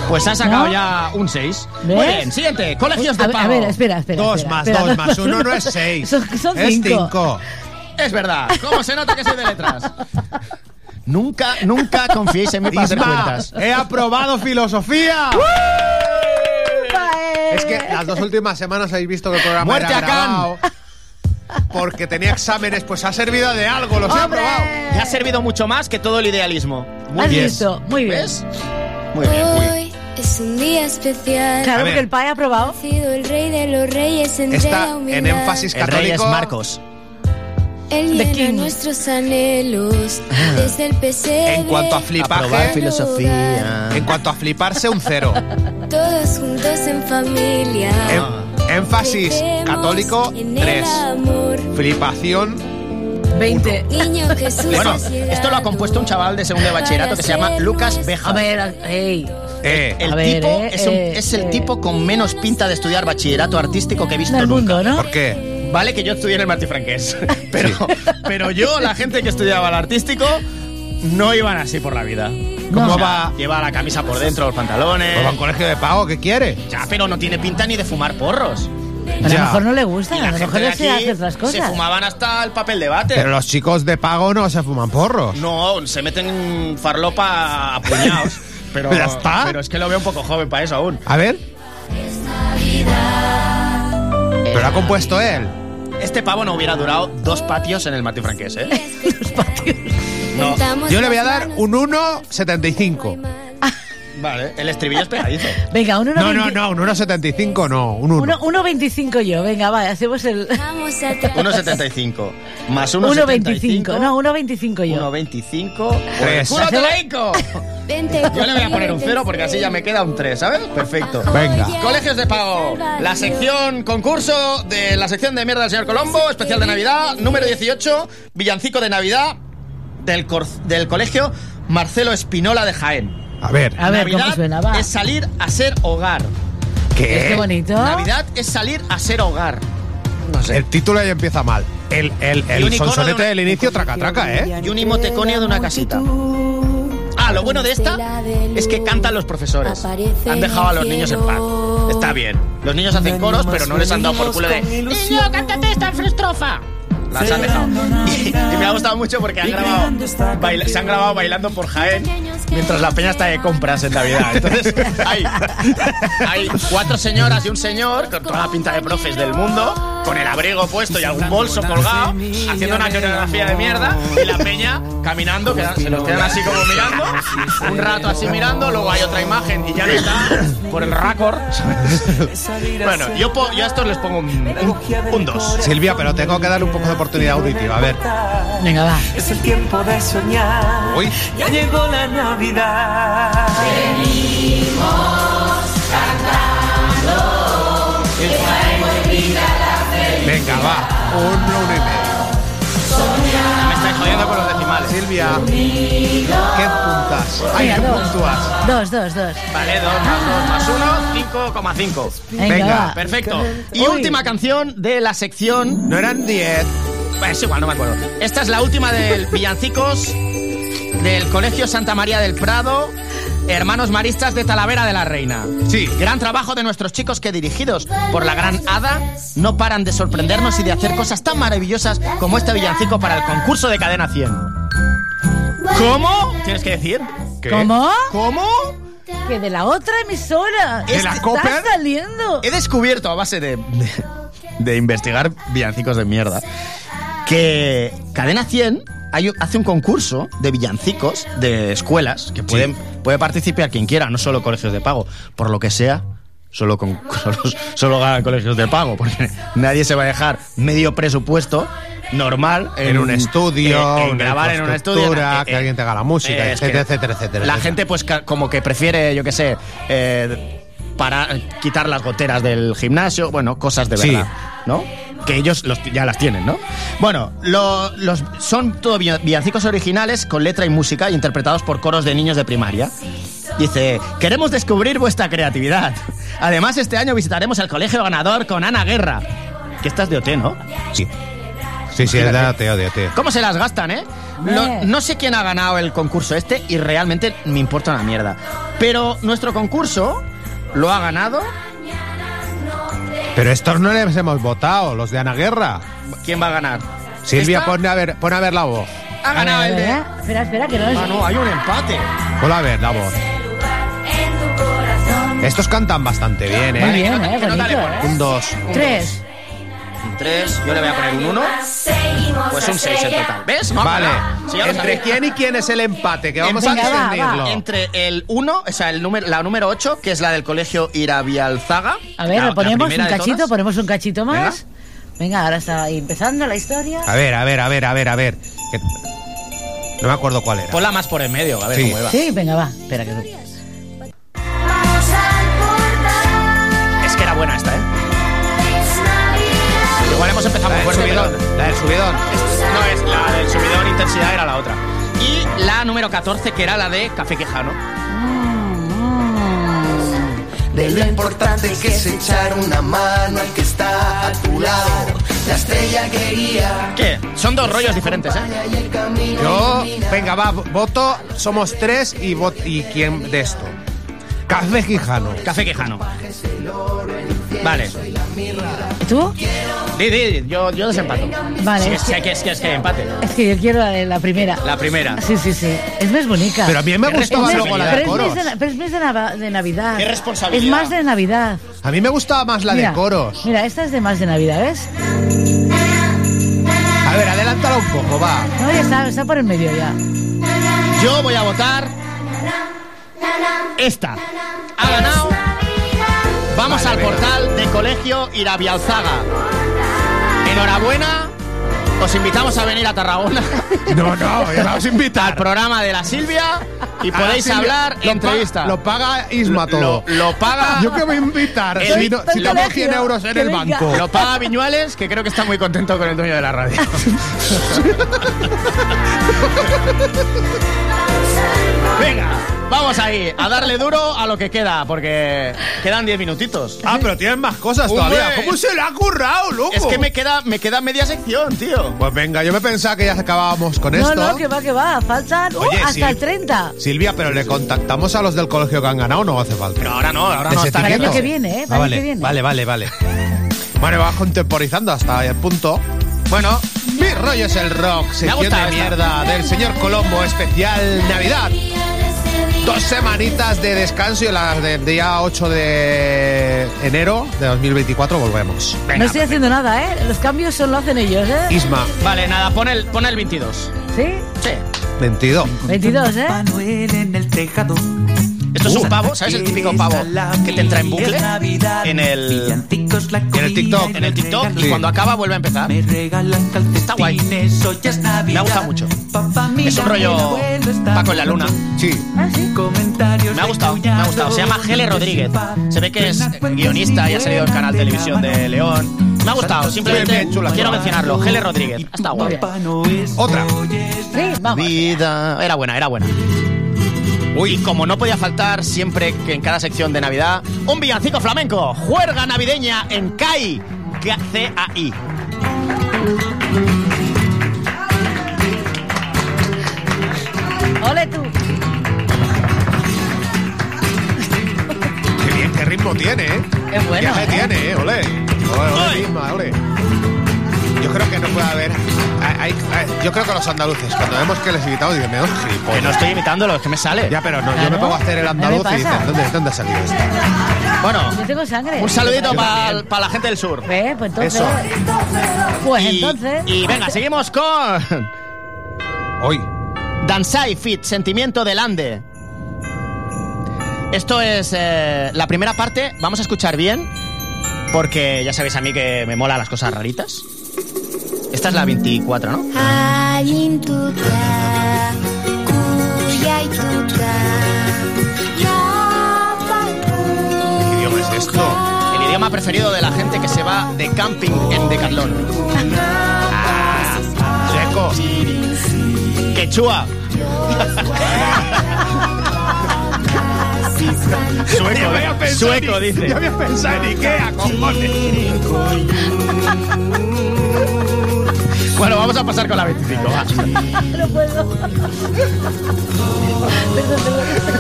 Speaker 8: Pues ha sacado
Speaker 10: ¿No?
Speaker 8: ya un 6.
Speaker 10: ¿Ves?
Speaker 8: Muy bien, siguiente, colegios
Speaker 10: Uy, a
Speaker 8: de
Speaker 10: ver,
Speaker 8: pago.
Speaker 10: A ver, espera, espera.
Speaker 5: Dos
Speaker 10: espera,
Speaker 5: más,
Speaker 10: espera.
Speaker 5: dos más. Uno no es seis.
Speaker 10: Son, son
Speaker 5: es
Speaker 10: cinco.
Speaker 5: cinco.
Speaker 8: Es verdad, ¿cómo se nota que soy de letras? nunca, nunca confiéis en mí para hacer
Speaker 5: Isma,
Speaker 8: cuentas.
Speaker 5: he aprobado filosofía. Es que las dos últimas semanas habéis visto que el programa
Speaker 8: ¡Muerte
Speaker 5: era
Speaker 8: a Khan!
Speaker 5: grabado porque tenía exámenes, pues ha servido de algo, los he
Speaker 8: ¡Hombre!
Speaker 5: aprobado.
Speaker 8: Me ha servido mucho más que todo el idealismo.
Speaker 10: ¿Has
Speaker 8: bien.
Speaker 10: visto? Ah, Muy bien.
Speaker 8: ¿Ves? Muy bien, muy bien.
Speaker 15: Hoy es un día especial.
Speaker 10: Claro,
Speaker 8: A ver.
Speaker 10: porque el PAE ha
Speaker 15: Ha
Speaker 10: aprobado.
Speaker 15: sido el rey de los reyes entre
Speaker 5: Está
Speaker 15: la
Speaker 5: en
Speaker 15: humildad.
Speaker 5: énfasis
Speaker 8: El rey es
Speaker 5: católico.
Speaker 8: Marcos.
Speaker 15: Él
Speaker 10: The
Speaker 15: llena
Speaker 10: King.
Speaker 15: nuestros anhelos desde el pesebre.
Speaker 5: Ah. En cuanto a
Speaker 8: Aprobar
Speaker 5: flipaje,
Speaker 8: filosofía.
Speaker 5: en cuanto a fliparse, un cero.
Speaker 15: Todos juntos en familia.
Speaker 5: En- énfasis católico,
Speaker 15: En el
Speaker 5: tres.
Speaker 15: amor.
Speaker 5: Flipación,
Speaker 10: 20.
Speaker 15: Niño Jesús.
Speaker 8: Bueno,
Speaker 15: has
Speaker 8: esto lo ha
Speaker 15: llegado.
Speaker 8: compuesto un chaval de segundo de bachillerato que se llama Lucas
Speaker 10: A
Speaker 8: Beja.
Speaker 10: ver, hey.
Speaker 5: eh,
Speaker 8: El
Speaker 10: A ver,
Speaker 8: tipo
Speaker 10: eh,
Speaker 8: es, un-
Speaker 10: eh,
Speaker 8: es el
Speaker 10: eh.
Speaker 8: tipo con menos pinta de estudiar bachillerato artístico que he visto
Speaker 10: Del
Speaker 8: nunca.
Speaker 10: mundo, ¿no?
Speaker 5: ¿Por qué?
Speaker 8: Vale que yo estudié en el Martí Franqués, pero, pero yo, la gente que estudiaba el artístico, no iban así por la vida.
Speaker 5: ¿Cómo
Speaker 8: O sea,
Speaker 5: va?
Speaker 8: Lleva la camisa por dentro, los pantalones...
Speaker 5: ¿Pues va a un colegio de pago? ¿Qué quiere?
Speaker 8: Ya, pero no tiene pinta ni de fumar porros.
Speaker 10: Pero a
Speaker 5: Ya.
Speaker 10: lo mejor no le gusta, a lo mejor
Speaker 8: de
Speaker 10: no se
Speaker 8: aquí
Speaker 10: hace otras
Speaker 8: se
Speaker 10: cosas.
Speaker 8: fumaban hasta el papel de váter.
Speaker 5: Pero los chicos de pago no se fuman porros.
Speaker 8: No, se meten farlopa a puñados. Pero,
Speaker 5: Ya está.
Speaker 8: pero es que lo veo un poco joven para eso aún.
Speaker 5: A ver. Pero lo ha compuesto él.
Speaker 8: Este pavo no hubiera durado dos patios en el Martí Franqués, ¿eh? No.
Speaker 15: Juntamos
Speaker 5: Yo le voy a
Speaker 15: las
Speaker 5: dar
Speaker 15: manos.
Speaker 5: un 1,75.
Speaker 8: Vale, el estribillo es pegadizo.
Speaker 10: Venga, uno
Speaker 5: No, no, no, un 1,75 no, un 1.
Speaker 10: 1.25 yo, venga, va, hacemos el...
Speaker 15: Vamos atrás.
Speaker 8: 1,75 más
Speaker 10: 1.25,
Speaker 8: 1,75.
Speaker 10: no, 1.25 yo.
Speaker 8: 1,25.
Speaker 5: Tres.
Speaker 8: ¡Culo te laico!
Speaker 15: Vente
Speaker 8: Yo le voy a poner un cero porque así ya me queda un 3, ¿sabes? Perfecto.
Speaker 5: Venga.
Speaker 8: Colegios de pago. La sección concurso de la sección de mierda del señor Colombo, especial de Navidad, número 18, villancico de Navidad del, cor- del colegio Marcelo Espinola de Jaén.
Speaker 5: A ver.
Speaker 8: Ah,
Speaker 10: A ver, ¿cómo
Speaker 8: Navidad
Speaker 10: suena? Va.
Speaker 8: es salir a ser hogar.
Speaker 10: ¿Ves qué bonito?
Speaker 8: Eh, Navidad es salir a ser hogar. No sé.
Speaker 5: El título ya empieza mal. El, el,
Speaker 8: Y un
Speaker 5: el
Speaker 8: icono
Speaker 5: sonsonete
Speaker 8: de una-
Speaker 5: del inicio, traca, traca, ¿eh?
Speaker 8: Y un emoticonio de una casita. Ah, lo bueno de esta es que cantan los profesores. Han dejado a los niños en paz. Está bien. Los niños hacen coros, pero no les han dado por culo de. ¡Niño, cántate esta estrofa! Las han dejado. Y, y me ha gustado mucho porque han grabado, baila- se han grabado bailando por Jaén mientras la peña está de compras en Navidad. Entonces, hay, hay cuatro señoras y un señor con toda la pinta de profes del mundo, con el abrigo puesto y algún bolso colgado, haciendo una coreografía de mierda y la peña caminando, que se los quedan así como mirando, un rato así mirando, luego hay otra imagen y ya no está por el raccord. Bueno, yo, po- yo a estos les pongo un- un 2.
Speaker 5: Silvia, pero tengo que darle un poco de oportunidad auditiva. A ver.
Speaker 10: Venga, va.
Speaker 6: Es el tiempo de soñar.
Speaker 5: Uy.
Speaker 6: Ya llegó la Navidad.
Speaker 5: Venga, va. Un uno y medio.
Speaker 8: Me estáis jodiendo con los decimales.
Speaker 5: Silvia, ¿qué puntas? Ay,
Speaker 10: Venga,
Speaker 5: ¿qué
Speaker 10: dos.
Speaker 5: puntúas?
Speaker 10: Dos, dos, dos.
Speaker 8: Vale, 2 más 2 más 1, 5,5.
Speaker 10: Venga, va.
Speaker 8: Ah, perfecto. Y última canción de la sección.
Speaker 5: No eran 10.
Speaker 8: Es igual, no me acuerdo. Esta es la última del Villancicos del Colegio Santa María del Prado. Hermanos Maristas de Talavera de la Reina. Sí. Gran trabajo de nuestros chicos que dirigidos por la gran Hada no paran de sorprendernos y de hacer cosas tan maravillosas como este villancico para el concurso de Cadena 100. ¿Cómo? ¿Tienes que decir?
Speaker 10: ¿Cómo?
Speaker 8: ¿Cómo?
Speaker 10: Que de la otra emisora.
Speaker 8: ¿De la
Speaker 10: Está
Speaker 8: Copper?
Speaker 10: saliendo.
Speaker 8: He descubierto a base de, de, de investigar villancicos de mierda que Cadena 100 hay- hace un concurso de villancicos de escuelas que pueden, puede participar quien quiera, no solo colegios de pago, por lo que sea. Solo, con, solo, solo ganan colegios de pago, porque nadie se va a dejar medio presupuesto normal
Speaker 5: En un estudio,
Speaker 8: en- eh, en
Speaker 5: una
Speaker 8: grabar en un estudio.
Speaker 5: infraestructura,
Speaker 8: eh,
Speaker 5: que alguien te haga la música,
Speaker 8: es que
Speaker 5: etcétera, etcétera, etcétera,
Speaker 8: La
Speaker 5: etcétera.
Speaker 8: gente, pues, ca- como que prefiere, yo qué sé, eh, para quitar las goteras del gimnasio, bueno, cosas de
Speaker 5: Sí.
Speaker 8: verdad, ¿no? Que ellos los- ya las tienen, ¿no? Bueno, lo- los, son todo vi- villancicos originales con letra y música interpretados por coros de niños de primaria. Dice, queremos descubrir vuestra creatividad. Además, este año visitaremos el colegio ganador con Ana Guerra. Que estás de OT, ¿no?
Speaker 5: Sí. Sí, sí, es de ateo, de ateo.
Speaker 8: ¿Cómo se las gastan, eh? Lo- no sé quién ha ganado el concurso este y realmente me importa una mierda. Pero nuestro concurso lo ha ganado.
Speaker 5: Pero estos no les hemos votado, los de Ana Guerra.
Speaker 8: ¿Quién va a ganar?
Speaker 5: Silvia,
Speaker 8: ¿Esta?
Speaker 5: ponle a, ver, pon a ver la voz.
Speaker 8: Ha ganado
Speaker 10: A
Speaker 8: el
Speaker 10: ver,
Speaker 8: de.
Speaker 10: ¿verdad? Espera, espera, que no es.
Speaker 8: Ah, no, hay un empate.
Speaker 5: Pon a ver la voz. Estos cantan bastante bien, ¿eh?
Speaker 10: Muy bien, eh,
Speaker 8: que no
Speaker 10: bonito,
Speaker 8: dale por-
Speaker 10: eh.
Speaker 5: Un 2.
Speaker 10: Tres.
Speaker 8: Un 3, yo le voy a poner un 1. Pues un 6 en total. ¿Ves? No ha
Speaker 5: Vale.
Speaker 8: ganado. Si ya lo
Speaker 5: ¿Entre
Speaker 8: sabía.
Speaker 5: quién y quién es el empate? Que vamos
Speaker 8: Entre-
Speaker 5: a discernirlo.
Speaker 8: Ah, Entre el 1, o sea, el número, la número 8, que es la del colegio Irabialzaga.
Speaker 10: A ver,
Speaker 8: la-
Speaker 10: lo ponemos
Speaker 8: la primera
Speaker 10: un
Speaker 8: de
Speaker 10: cachito,
Speaker 8: todas.
Speaker 10: ponemos un cachito más. Venga, ahora está ahí empezando la historia.
Speaker 5: A ver, a ver, a ver, a ver, a ver. Que- No me acuerdo cuál era.
Speaker 8: Ponla más por el medio, a ver
Speaker 5: Sí.
Speaker 8: cómo iba.
Speaker 10: Sí, venga, va. Espera que no.
Speaker 8: Es que era buena esta, ¿eh? Igual hemos empezado
Speaker 5: La del
Speaker 8: muy fuerte.
Speaker 5: subidón,
Speaker 8: pero-
Speaker 5: la del subidón.
Speaker 8: Es- No, es la del subidón, intensidad era la otra. Y la número 14, que era la de Café Quejano.
Speaker 10: Mm,
Speaker 6: De lo importante que es echar una mano al que está a tu lado. La estrella que guía.
Speaker 8: ¿Qué? Son dos rollos diferentes, ¿eh?
Speaker 6: Y el camino
Speaker 5: Yo,
Speaker 6: ilumina.
Speaker 5: venga, va, voto. Somos tres y vot ¿Y quién de esto? Café Quijano.
Speaker 8: Café Quejano. Vale.
Speaker 10: ¿Tú?
Speaker 8: Di, di, di, yo, yo desempato.
Speaker 10: Vale.
Speaker 8: Sí, es, que, es, que, es que empate.
Speaker 10: Es que yo quiero la, de la primera.
Speaker 8: La primera.
Speaker 10: Ah, Sí, sí, sí. Es más bonita.
Speaker 5: Pero a mí me
Speaker 8: Qué
Speaker 5: gustaba
Speaker 8: responsabilidad.
Speaker 5: luego la
Speaker 10: Pero
Speaker 5: de
Speaker 10: es más
Speaker 5: coros.
Speaker 10: de, na- pero es más de nava- de Navidad.
Speaker 8: Qué responsabilidad.
Speaker 10: Es más de Navidad.
Speaker 5: A mí me gustaba más la
Speaker 10: mira,
Speaker 5: de coros.
Speaker 10: Mira, esta es de más de Navidad, ¿ves?
Speaker 5: A ver, adelántala un poco, va.
Speaker 10: No, ya está, está por el medio ya.
Speaker 8: Yo voy a votar. Esta. Ha ganado. Vamos
Speaker 5: Vale,
Speaker 8: al
Speaker 5: venga.
Speaker 8: portal de Colegio Irabialzaga. Enhorabuena. Os invitamos a venir a Tarragona.
Speaker 5: No, no, ya vamos a
Speaker 8: Al
Speaker 5: invitar.
Speaker 8: programa de la Silvia. Y
Speaker 5: A la
Speaker 8: podéis
Speaker 5: Silvia
Speaker 8: hablar,
Speaker 5: lo
Speaker 8: entrevista.
Speaker 5: pa- lo paga Isma todo.
Speaker 8: Lo, lo paga.
Speaker 5: Yo que voy a invitar.
Speaker 8: El-
Speaker 5: Si, no, si
Speaker 8: el
Speaker 5: tengo
Speaker 10: colegio,
Speaker 5: 100 euros en
Speaker 10: que
Speaker 5: el
Speaker 10: venga.
Speaker 5: banco.
Speaker 8: Lo paga Viñuales, que creo que está muy contento con el dueño de la radio. Venga, vamos ahí, a darle duro a lo que queda, porque quedan 10 minutitos.
Speaker 5: Ah, pero tienen más cosas
Speaker 8: Hombre.
Speaker 5: todavía. ¿Cómo se le ha currado, loco?
Speaker 8: Es que me queda, me queda media sección, tío.
Speaker 5: Pues venga, yo me pensaba que ya acabábamos con
Speaker 10: No,
Speaker 5: esto.
Speaker 10: no, que va, que va. Faltan ¡uh!
Speaker 5: Oye,
Speaker 10: hasta
Speaker 5: sí.
Speaker 10: el 30.
Speaker 5: Silvia, pero le contactamos a los del colegio que han ganado, no hace falta.
Speaker 8: Pero ahora no, ahora no
Speaker 5: Ese
Speaker 8: está
Speaker 10: Para el
Speaker 5: etiqueto.
Speaker 10: año que viene, ¿eh? Para
Speaker 5: Ah,
Speaker 10: el
Speaker 5: vale,
Speaker 10: año que viene.
Speaker 5: vale, vale, vale. Bueno, vas contemporizando hasta el punto. Bueno, mi rollo es el rock, sección
Speaker 8: gustado
Speaker 5: de
Speaker 8: esta.
Speaker 5: mierda del señor Colombo, especial Navidad. Dos semanitas de descanso y las del día 8 de enero de 2024 volvemos.
Speaker 10: no estoy haciendo nada, ¿eh? Los cambios solo lo hacen ellos, ¿eh?
Speaker 5: Isma,
Speaker 8: Vale, nada, pon el, pon el 22.
Speaker 10: ¿Sí?
Speaker 8: Sí.
Speaker 5: 22.
Speaker 10: 22, ¿eh?
Speaker 13: Manuel en el tejado.
Speaker 8: Esto Esto es un pavo, ¿sabes? El típico pavo que te entra en bucle en el, en el TikTok. En el TikTok y
Speaker 5: Sí.
Speaker 8: cuando acaba vuelve a empezar. Mm. Está guay. Me ha gustado mucho. Es un rollo Paco en la luna.
Speaker 5: Sí.
Speaker 8: Me ha gustado, me ha gustado. Se llama Gele Rodríguez. Se ve que es
Speaker 6: pues
Speaker 8: guionista y ha salido en Canal Televisión de León. Me ha gustado, simplemente
Speaker 5: Bien, bien, chula.
Speaker 8: quiero mencionarlo. Gele Rodríguez. Está guay.
Speaker 5: Otra.
Speaker 8: Vida. Era buena, era buena. Uy, y como no podía faltar, siempre que en cada sección de Navidad, un villancico flamenco. Juerga navideña en CAI. Ca- C-A-I.
Speaker 10: ¡Ole tú!
Speaker 5: Qué bien, qué ritmo tiene, ¿eh?
Speaker 10: Qué bueno,
Speaker 5: Qué
Speaker 10: ¿eh?
Speaker 5: tiene, ¿eh? Ole. Ole, ole, misma, ole. Yo creo que no puede haber. hay- hay- hay- yo creo que los andaluces, cuando vemos que les imitamos, dicen, menos gilipollas.
Speaker 8: Que no estoy imitándolo, es que me sale.
Speaker 5: Ya, pero no, yo
Speaker 8: Claro.
Speaker 5: me pongo a hacer el
Speaker 8: ¿Qué me
Speaker 5: andaluz y
Speaker 8: pasa?
Speaker 5: dicen, ¿dónde, dónde ha salido esto?
Speaker 8: Bueno,
Speaker 10: Yo tengo sangre.
Speaker 8: un saludito para la gente del sur.
Speaker 10: Eh, pues entonces.
Speaker 8: Eso.
Speaker 10: Pues
Speaker 8: Y-
Speaker 10: entonces.
Speaker 8: Y venga, seguimos con.
Speaker 5: Hoy.
Speaker 8: Danzai Fit, Sentimiento del Ande. Esto es eh, la primera parte. Vamos a escuchar bien, porque ya sabéis a mí que me mola las cosas raritas. Esta es la 24, ¿no?
Speaker 15: Allin tuta, kuyai tuta,
Speaker 8: ¿Qué idioma es esto? El idioma preferido de la gente que se va de camping en Decathlon. Ah, sueco. Quechua.
Speaker 5: Yo había
Speaker 8: Sueco,
Speaker 5: pensado
Speaker 8: eh. sueco,
Speaker 5: en-
Speaker 8: dice.
Speaker 5: Yo había pensado en Ikea, cojones.
Speaker 8: Bueno, vamos a pasar con la 25. va.
Speaker 10: No puedo.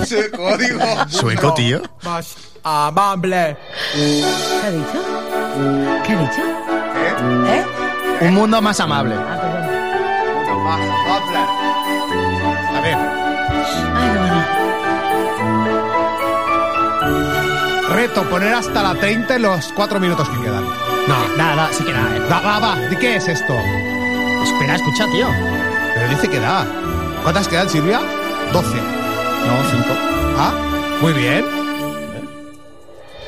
Speaker 5: Ese código.
Speaker 8: Sueco, tío.
Speaker 13: Más amable.
Speaker 10: ¿Qué ha dicho? ¿Qué ha dicho? ¿Eh?
Speaker 8: Un mundo más amable.
Speaker 10: Ah, perdón.
Speaker 5: A ver.
Speaker 10: Ay, qué bueno.
Speaker 5: Reto, poner hasta la 30 en los 4 minutos que quedan. No.
Speaker 8: Nada, nada, sí que nada. eh.
Speaker 5: Va, va, va. ¿De qué es esto?
Speaker 8: Espera, escucha, tío.
Speaker 5: Pero dice que da. ¿Cuántas quedan, Silvia? 12.
Speaker 8: No, 5.
Speaker 5: Ah, muy bien.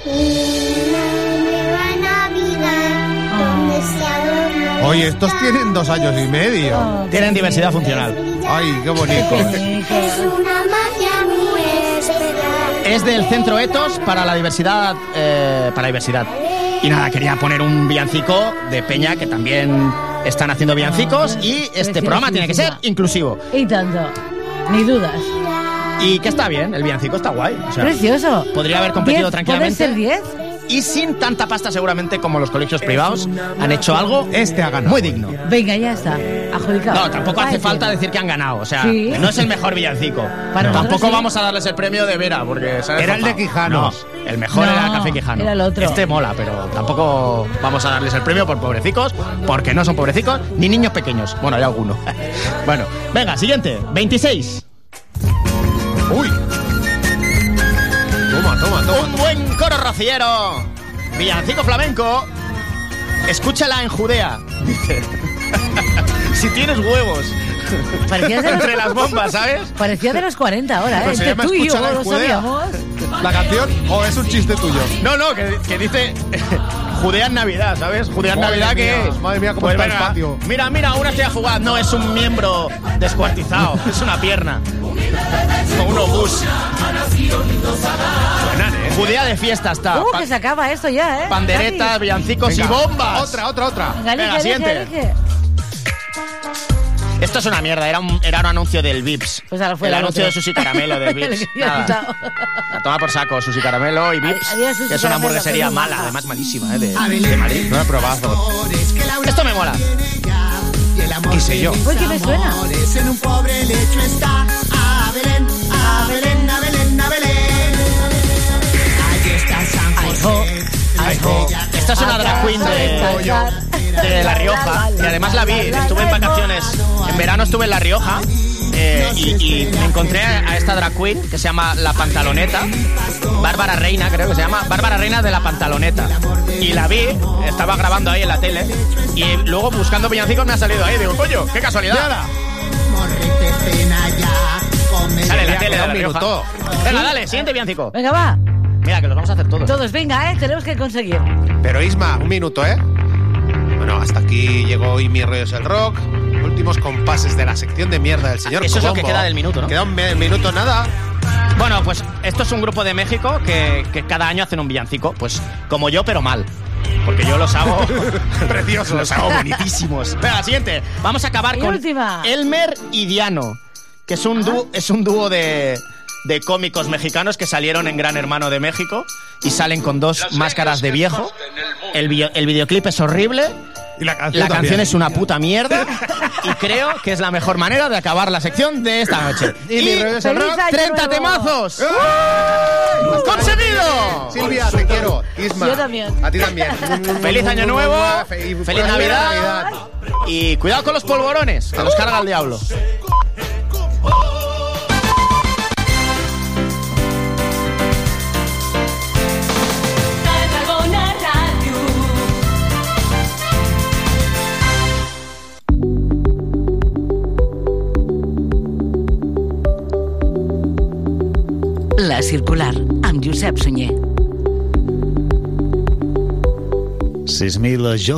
Speaker 15: Una nueva Navidad, donde se adorna.
Speaker 5: Oye, estos tienen dos años y medio.
Speaker 8: Tienen diversidad funcional.
Speaker 5: Ay, qué bonito. eh.
Speaker 15: Es una magia muy especial.
Speaker 8: Es del centro Etos para la diversidad. eh, para la diversidad. Y nada, quería poner un villancico de Peña que también están haciendo villancicos y este programa tiene que ser inclusivo.
Speaker 10: Y tanto. Ni dudas.
Speaker 8: Y que está bien, el villancico está guay. o sea,
Speaker 10: Precioso.
Speaker 8: Podría haber competido
Speaker 10: Diez, ¿Puede ser
Speaker 8: tranquilamente.
Speaker 10: 10?
Speaker 8: Y sin tanta pasta seguramente como los colegios privados han hecho algo
Speaker 5: Este ha ganado.
Speaker 8: muy digno.
Speaker 10: Venga, ya está. Adjudicado.
Speaker 8: No, tampoco hace
Speaker 10: Ay,
Speaker 8: falta decir que han ganado. O sea,
Speaker 10: Sí.
Speaker 8: no es el mejor villancico.
Speaker 10: Para
Speaker 8: tampoco
Speaker 10: nosotros sí.
Speaker 8: vamos a darles el premio de Vera, porque se han
Speaker 5: Era el de
Speaker 8: esforzado.
Speaker 5: Quijanos.
Speaker 8: No, el mejor
Speaker 10: No,
Speaker 8: era Café Quijano.
Speaker 10: era el otro.
Speaker 8: Este mola, pero tampoco vamos a darles el premio por pobrecicos, porque no son pobrecicos ni niños pequeños. Bueno, hay alguno. bueno, venga, siguiente. 26.
Speaker 5: Uy. Toma, toma, toma.
Speaker 8: Un buen coro rociero. Villancico flamenco. Escúchala en Judea. Dice. si tienes huevos.
Speaker 10: Parecía de los-
Speaker 8: Entre las bombas, ¿sabes?
Speaker 10: Parecía de los 40 ahora, ¿eh?
Speaker 5: Pues se
Speaker 10: Entre
Speaker 5: llama
Speaker 10: tú y yo
Speaker 5: Escúchala en
Speaker 10: lo
Speaker 5: Judea.
Speaker 10: sabíamos.
Speaker 5: ¿La canción o es un chiste tuyo?
Speaker 8: No, no, que, que dice Judea en Navidad, ¿sabes? Judea en
Speaker 5: Madre
Speaker 8: Navidad
Speaker 5: mía,
Speaker 8: que es. Pues
Speaker 5: madre mía, cómo está el
Speaker 8: venga,
Speaker 5: patio.
Speaker 8: Mira, mira, una estrella jugada. No, es un miembro descuartizado, es una pierna. Con un obús.
Speaker 5: ¿eh?
Speaker 8: Judea de fiesta está.
Speaker 10: ¿Cómo
Speaker 8: Pa-
Speaker 10: que se acaba esto ya, eh?
Speaker 8: Ah, panderetas, villancicos
Speaker 5: Venga,
Speaker 8: y bombas.
Speaker 5: Otra, otra, otra.
Speaker 10: Venga, elige,
Speaker 8: Venga,
Speaker 10: elige,
Speaker 8: siguiente.
Speaker 10: elige.
Speaker 8: Esto es una mierda, era un, era un anuncio del Vips.
Speaker 10: Pues ahora fue
Speaker 8: el
Speaker 10: la
Speaker 8: anuncio
Speaker 10: otra.
Speaker 8: de Susi Caramelo del
Speaker 10: Le
Speaker 8: Vips.
Speaker 10: quería
Speaker 8: Nada.
Speaker 10: quitar.
Speaker 8: La toma por saco, Susi Caramelo y Vips.
Speaker 10: Adiós, Sushi
Speaker 8: que es una
Speaker 10: Caramelo,
Speaker 8: hamburguesería
Speaker 10: que no
Speaker 8: mala,
Speaker 10: baja.
Speaker 8: además malísima, ¿eh? De, de Madrid.
Speaker 5: No he probado.
Speaker 8: Esto me mola.
Speaker 5: ¿Qué sé yo?
Speaker 10: Uy, que me suena.
Speaker 9: En un pobre lecho está a Belén, a Belén, a Belén, a Belén. Allí está San José.
Speaker 8: Esta es una drag queen de, de La Rioja, que además la vi, estuve en vacaciones, en verano estuve en La Rioja eh, y, y me encontré a esta drag queen que se llama La Pantaloneta, Bárbara Reina creo que se llama, Bárbara Reina de La Pantaloneta. Y la vi, estaba grabando ahí en la tele y luego buscando villancicos me ha salido ahí, digo, coño, qué casualidad.
Speaker 9: Morrete cena ya.
Speaker 11: me
Speaker 8: Sale la
Speaker 11: llevé a
Speaker 8: tele de
Speaker 11: Colombia.
Speaker 8: un minuto. Venga, dale, siguiente villancico.
Speaker 10: Venga, va.
Speaker 8: Mira, que los vamos a hacer todos.
Speaker 10: Todos, venga, ¿eh? Tenemos que conseguir.
Speaker 5: Pero Isma, un minuto, ¿eh? Bueno, hasta aquí llegó hoy Mi Rollo es el Rock. Últimos compases de la sección de mierda del señor
Speaker 8: Eso es lo que
Speaker 5: Colombo.
Speaker 8: queda del minuto, ¿no?
Speaker 5: Queda un me- minuto nada.
Speaker 8: Bueno, pues esto es un grupo de México que, que cada año hacen un villancico. Pues como yo, pero mal. Porque yo los hago preciosos, los hago bonitísimos. Venga, siguiente. Vamos a acabar
Speaker 10: Y
Speaker 8: con
Speaker 10: última.
Speaker 8: Elmer y Diano, que es un dúo, es un dúo de, de cómicos mexicanos que salieron en Gran Hermano de México y salen con dos máscaras de viejo. El, vi- el videoclip es horrible.
Speaker 5: la canción,
Speaker 8: La canción es una puta mierda y creo que es la mejor manera de acabar la sección de esta noche.
Speaker 5: Y mi rollo es el
Speaker 8: feliz
Speaker 5: rock,
Speaker 8: año
Speaker 5: 30
Speaker 8: nuevo.
Speaker 5: temazos.
Speaker 8: ¡Uy! ¡Conseguido!
Speaker 5: Silvia, te quiero. Isma.
Speaker 8: Yo también.
Speaker 5: A ti también.
Speaker 8: Feliz año nuevo, feliz Navidad y cuidado con los polvorones, que los carga el diablo.
Speaker 14: Tarragona Radio.
Speaker 2: La Circular, amb Josep Sunyer.
Speaker 3: 6.000 jocs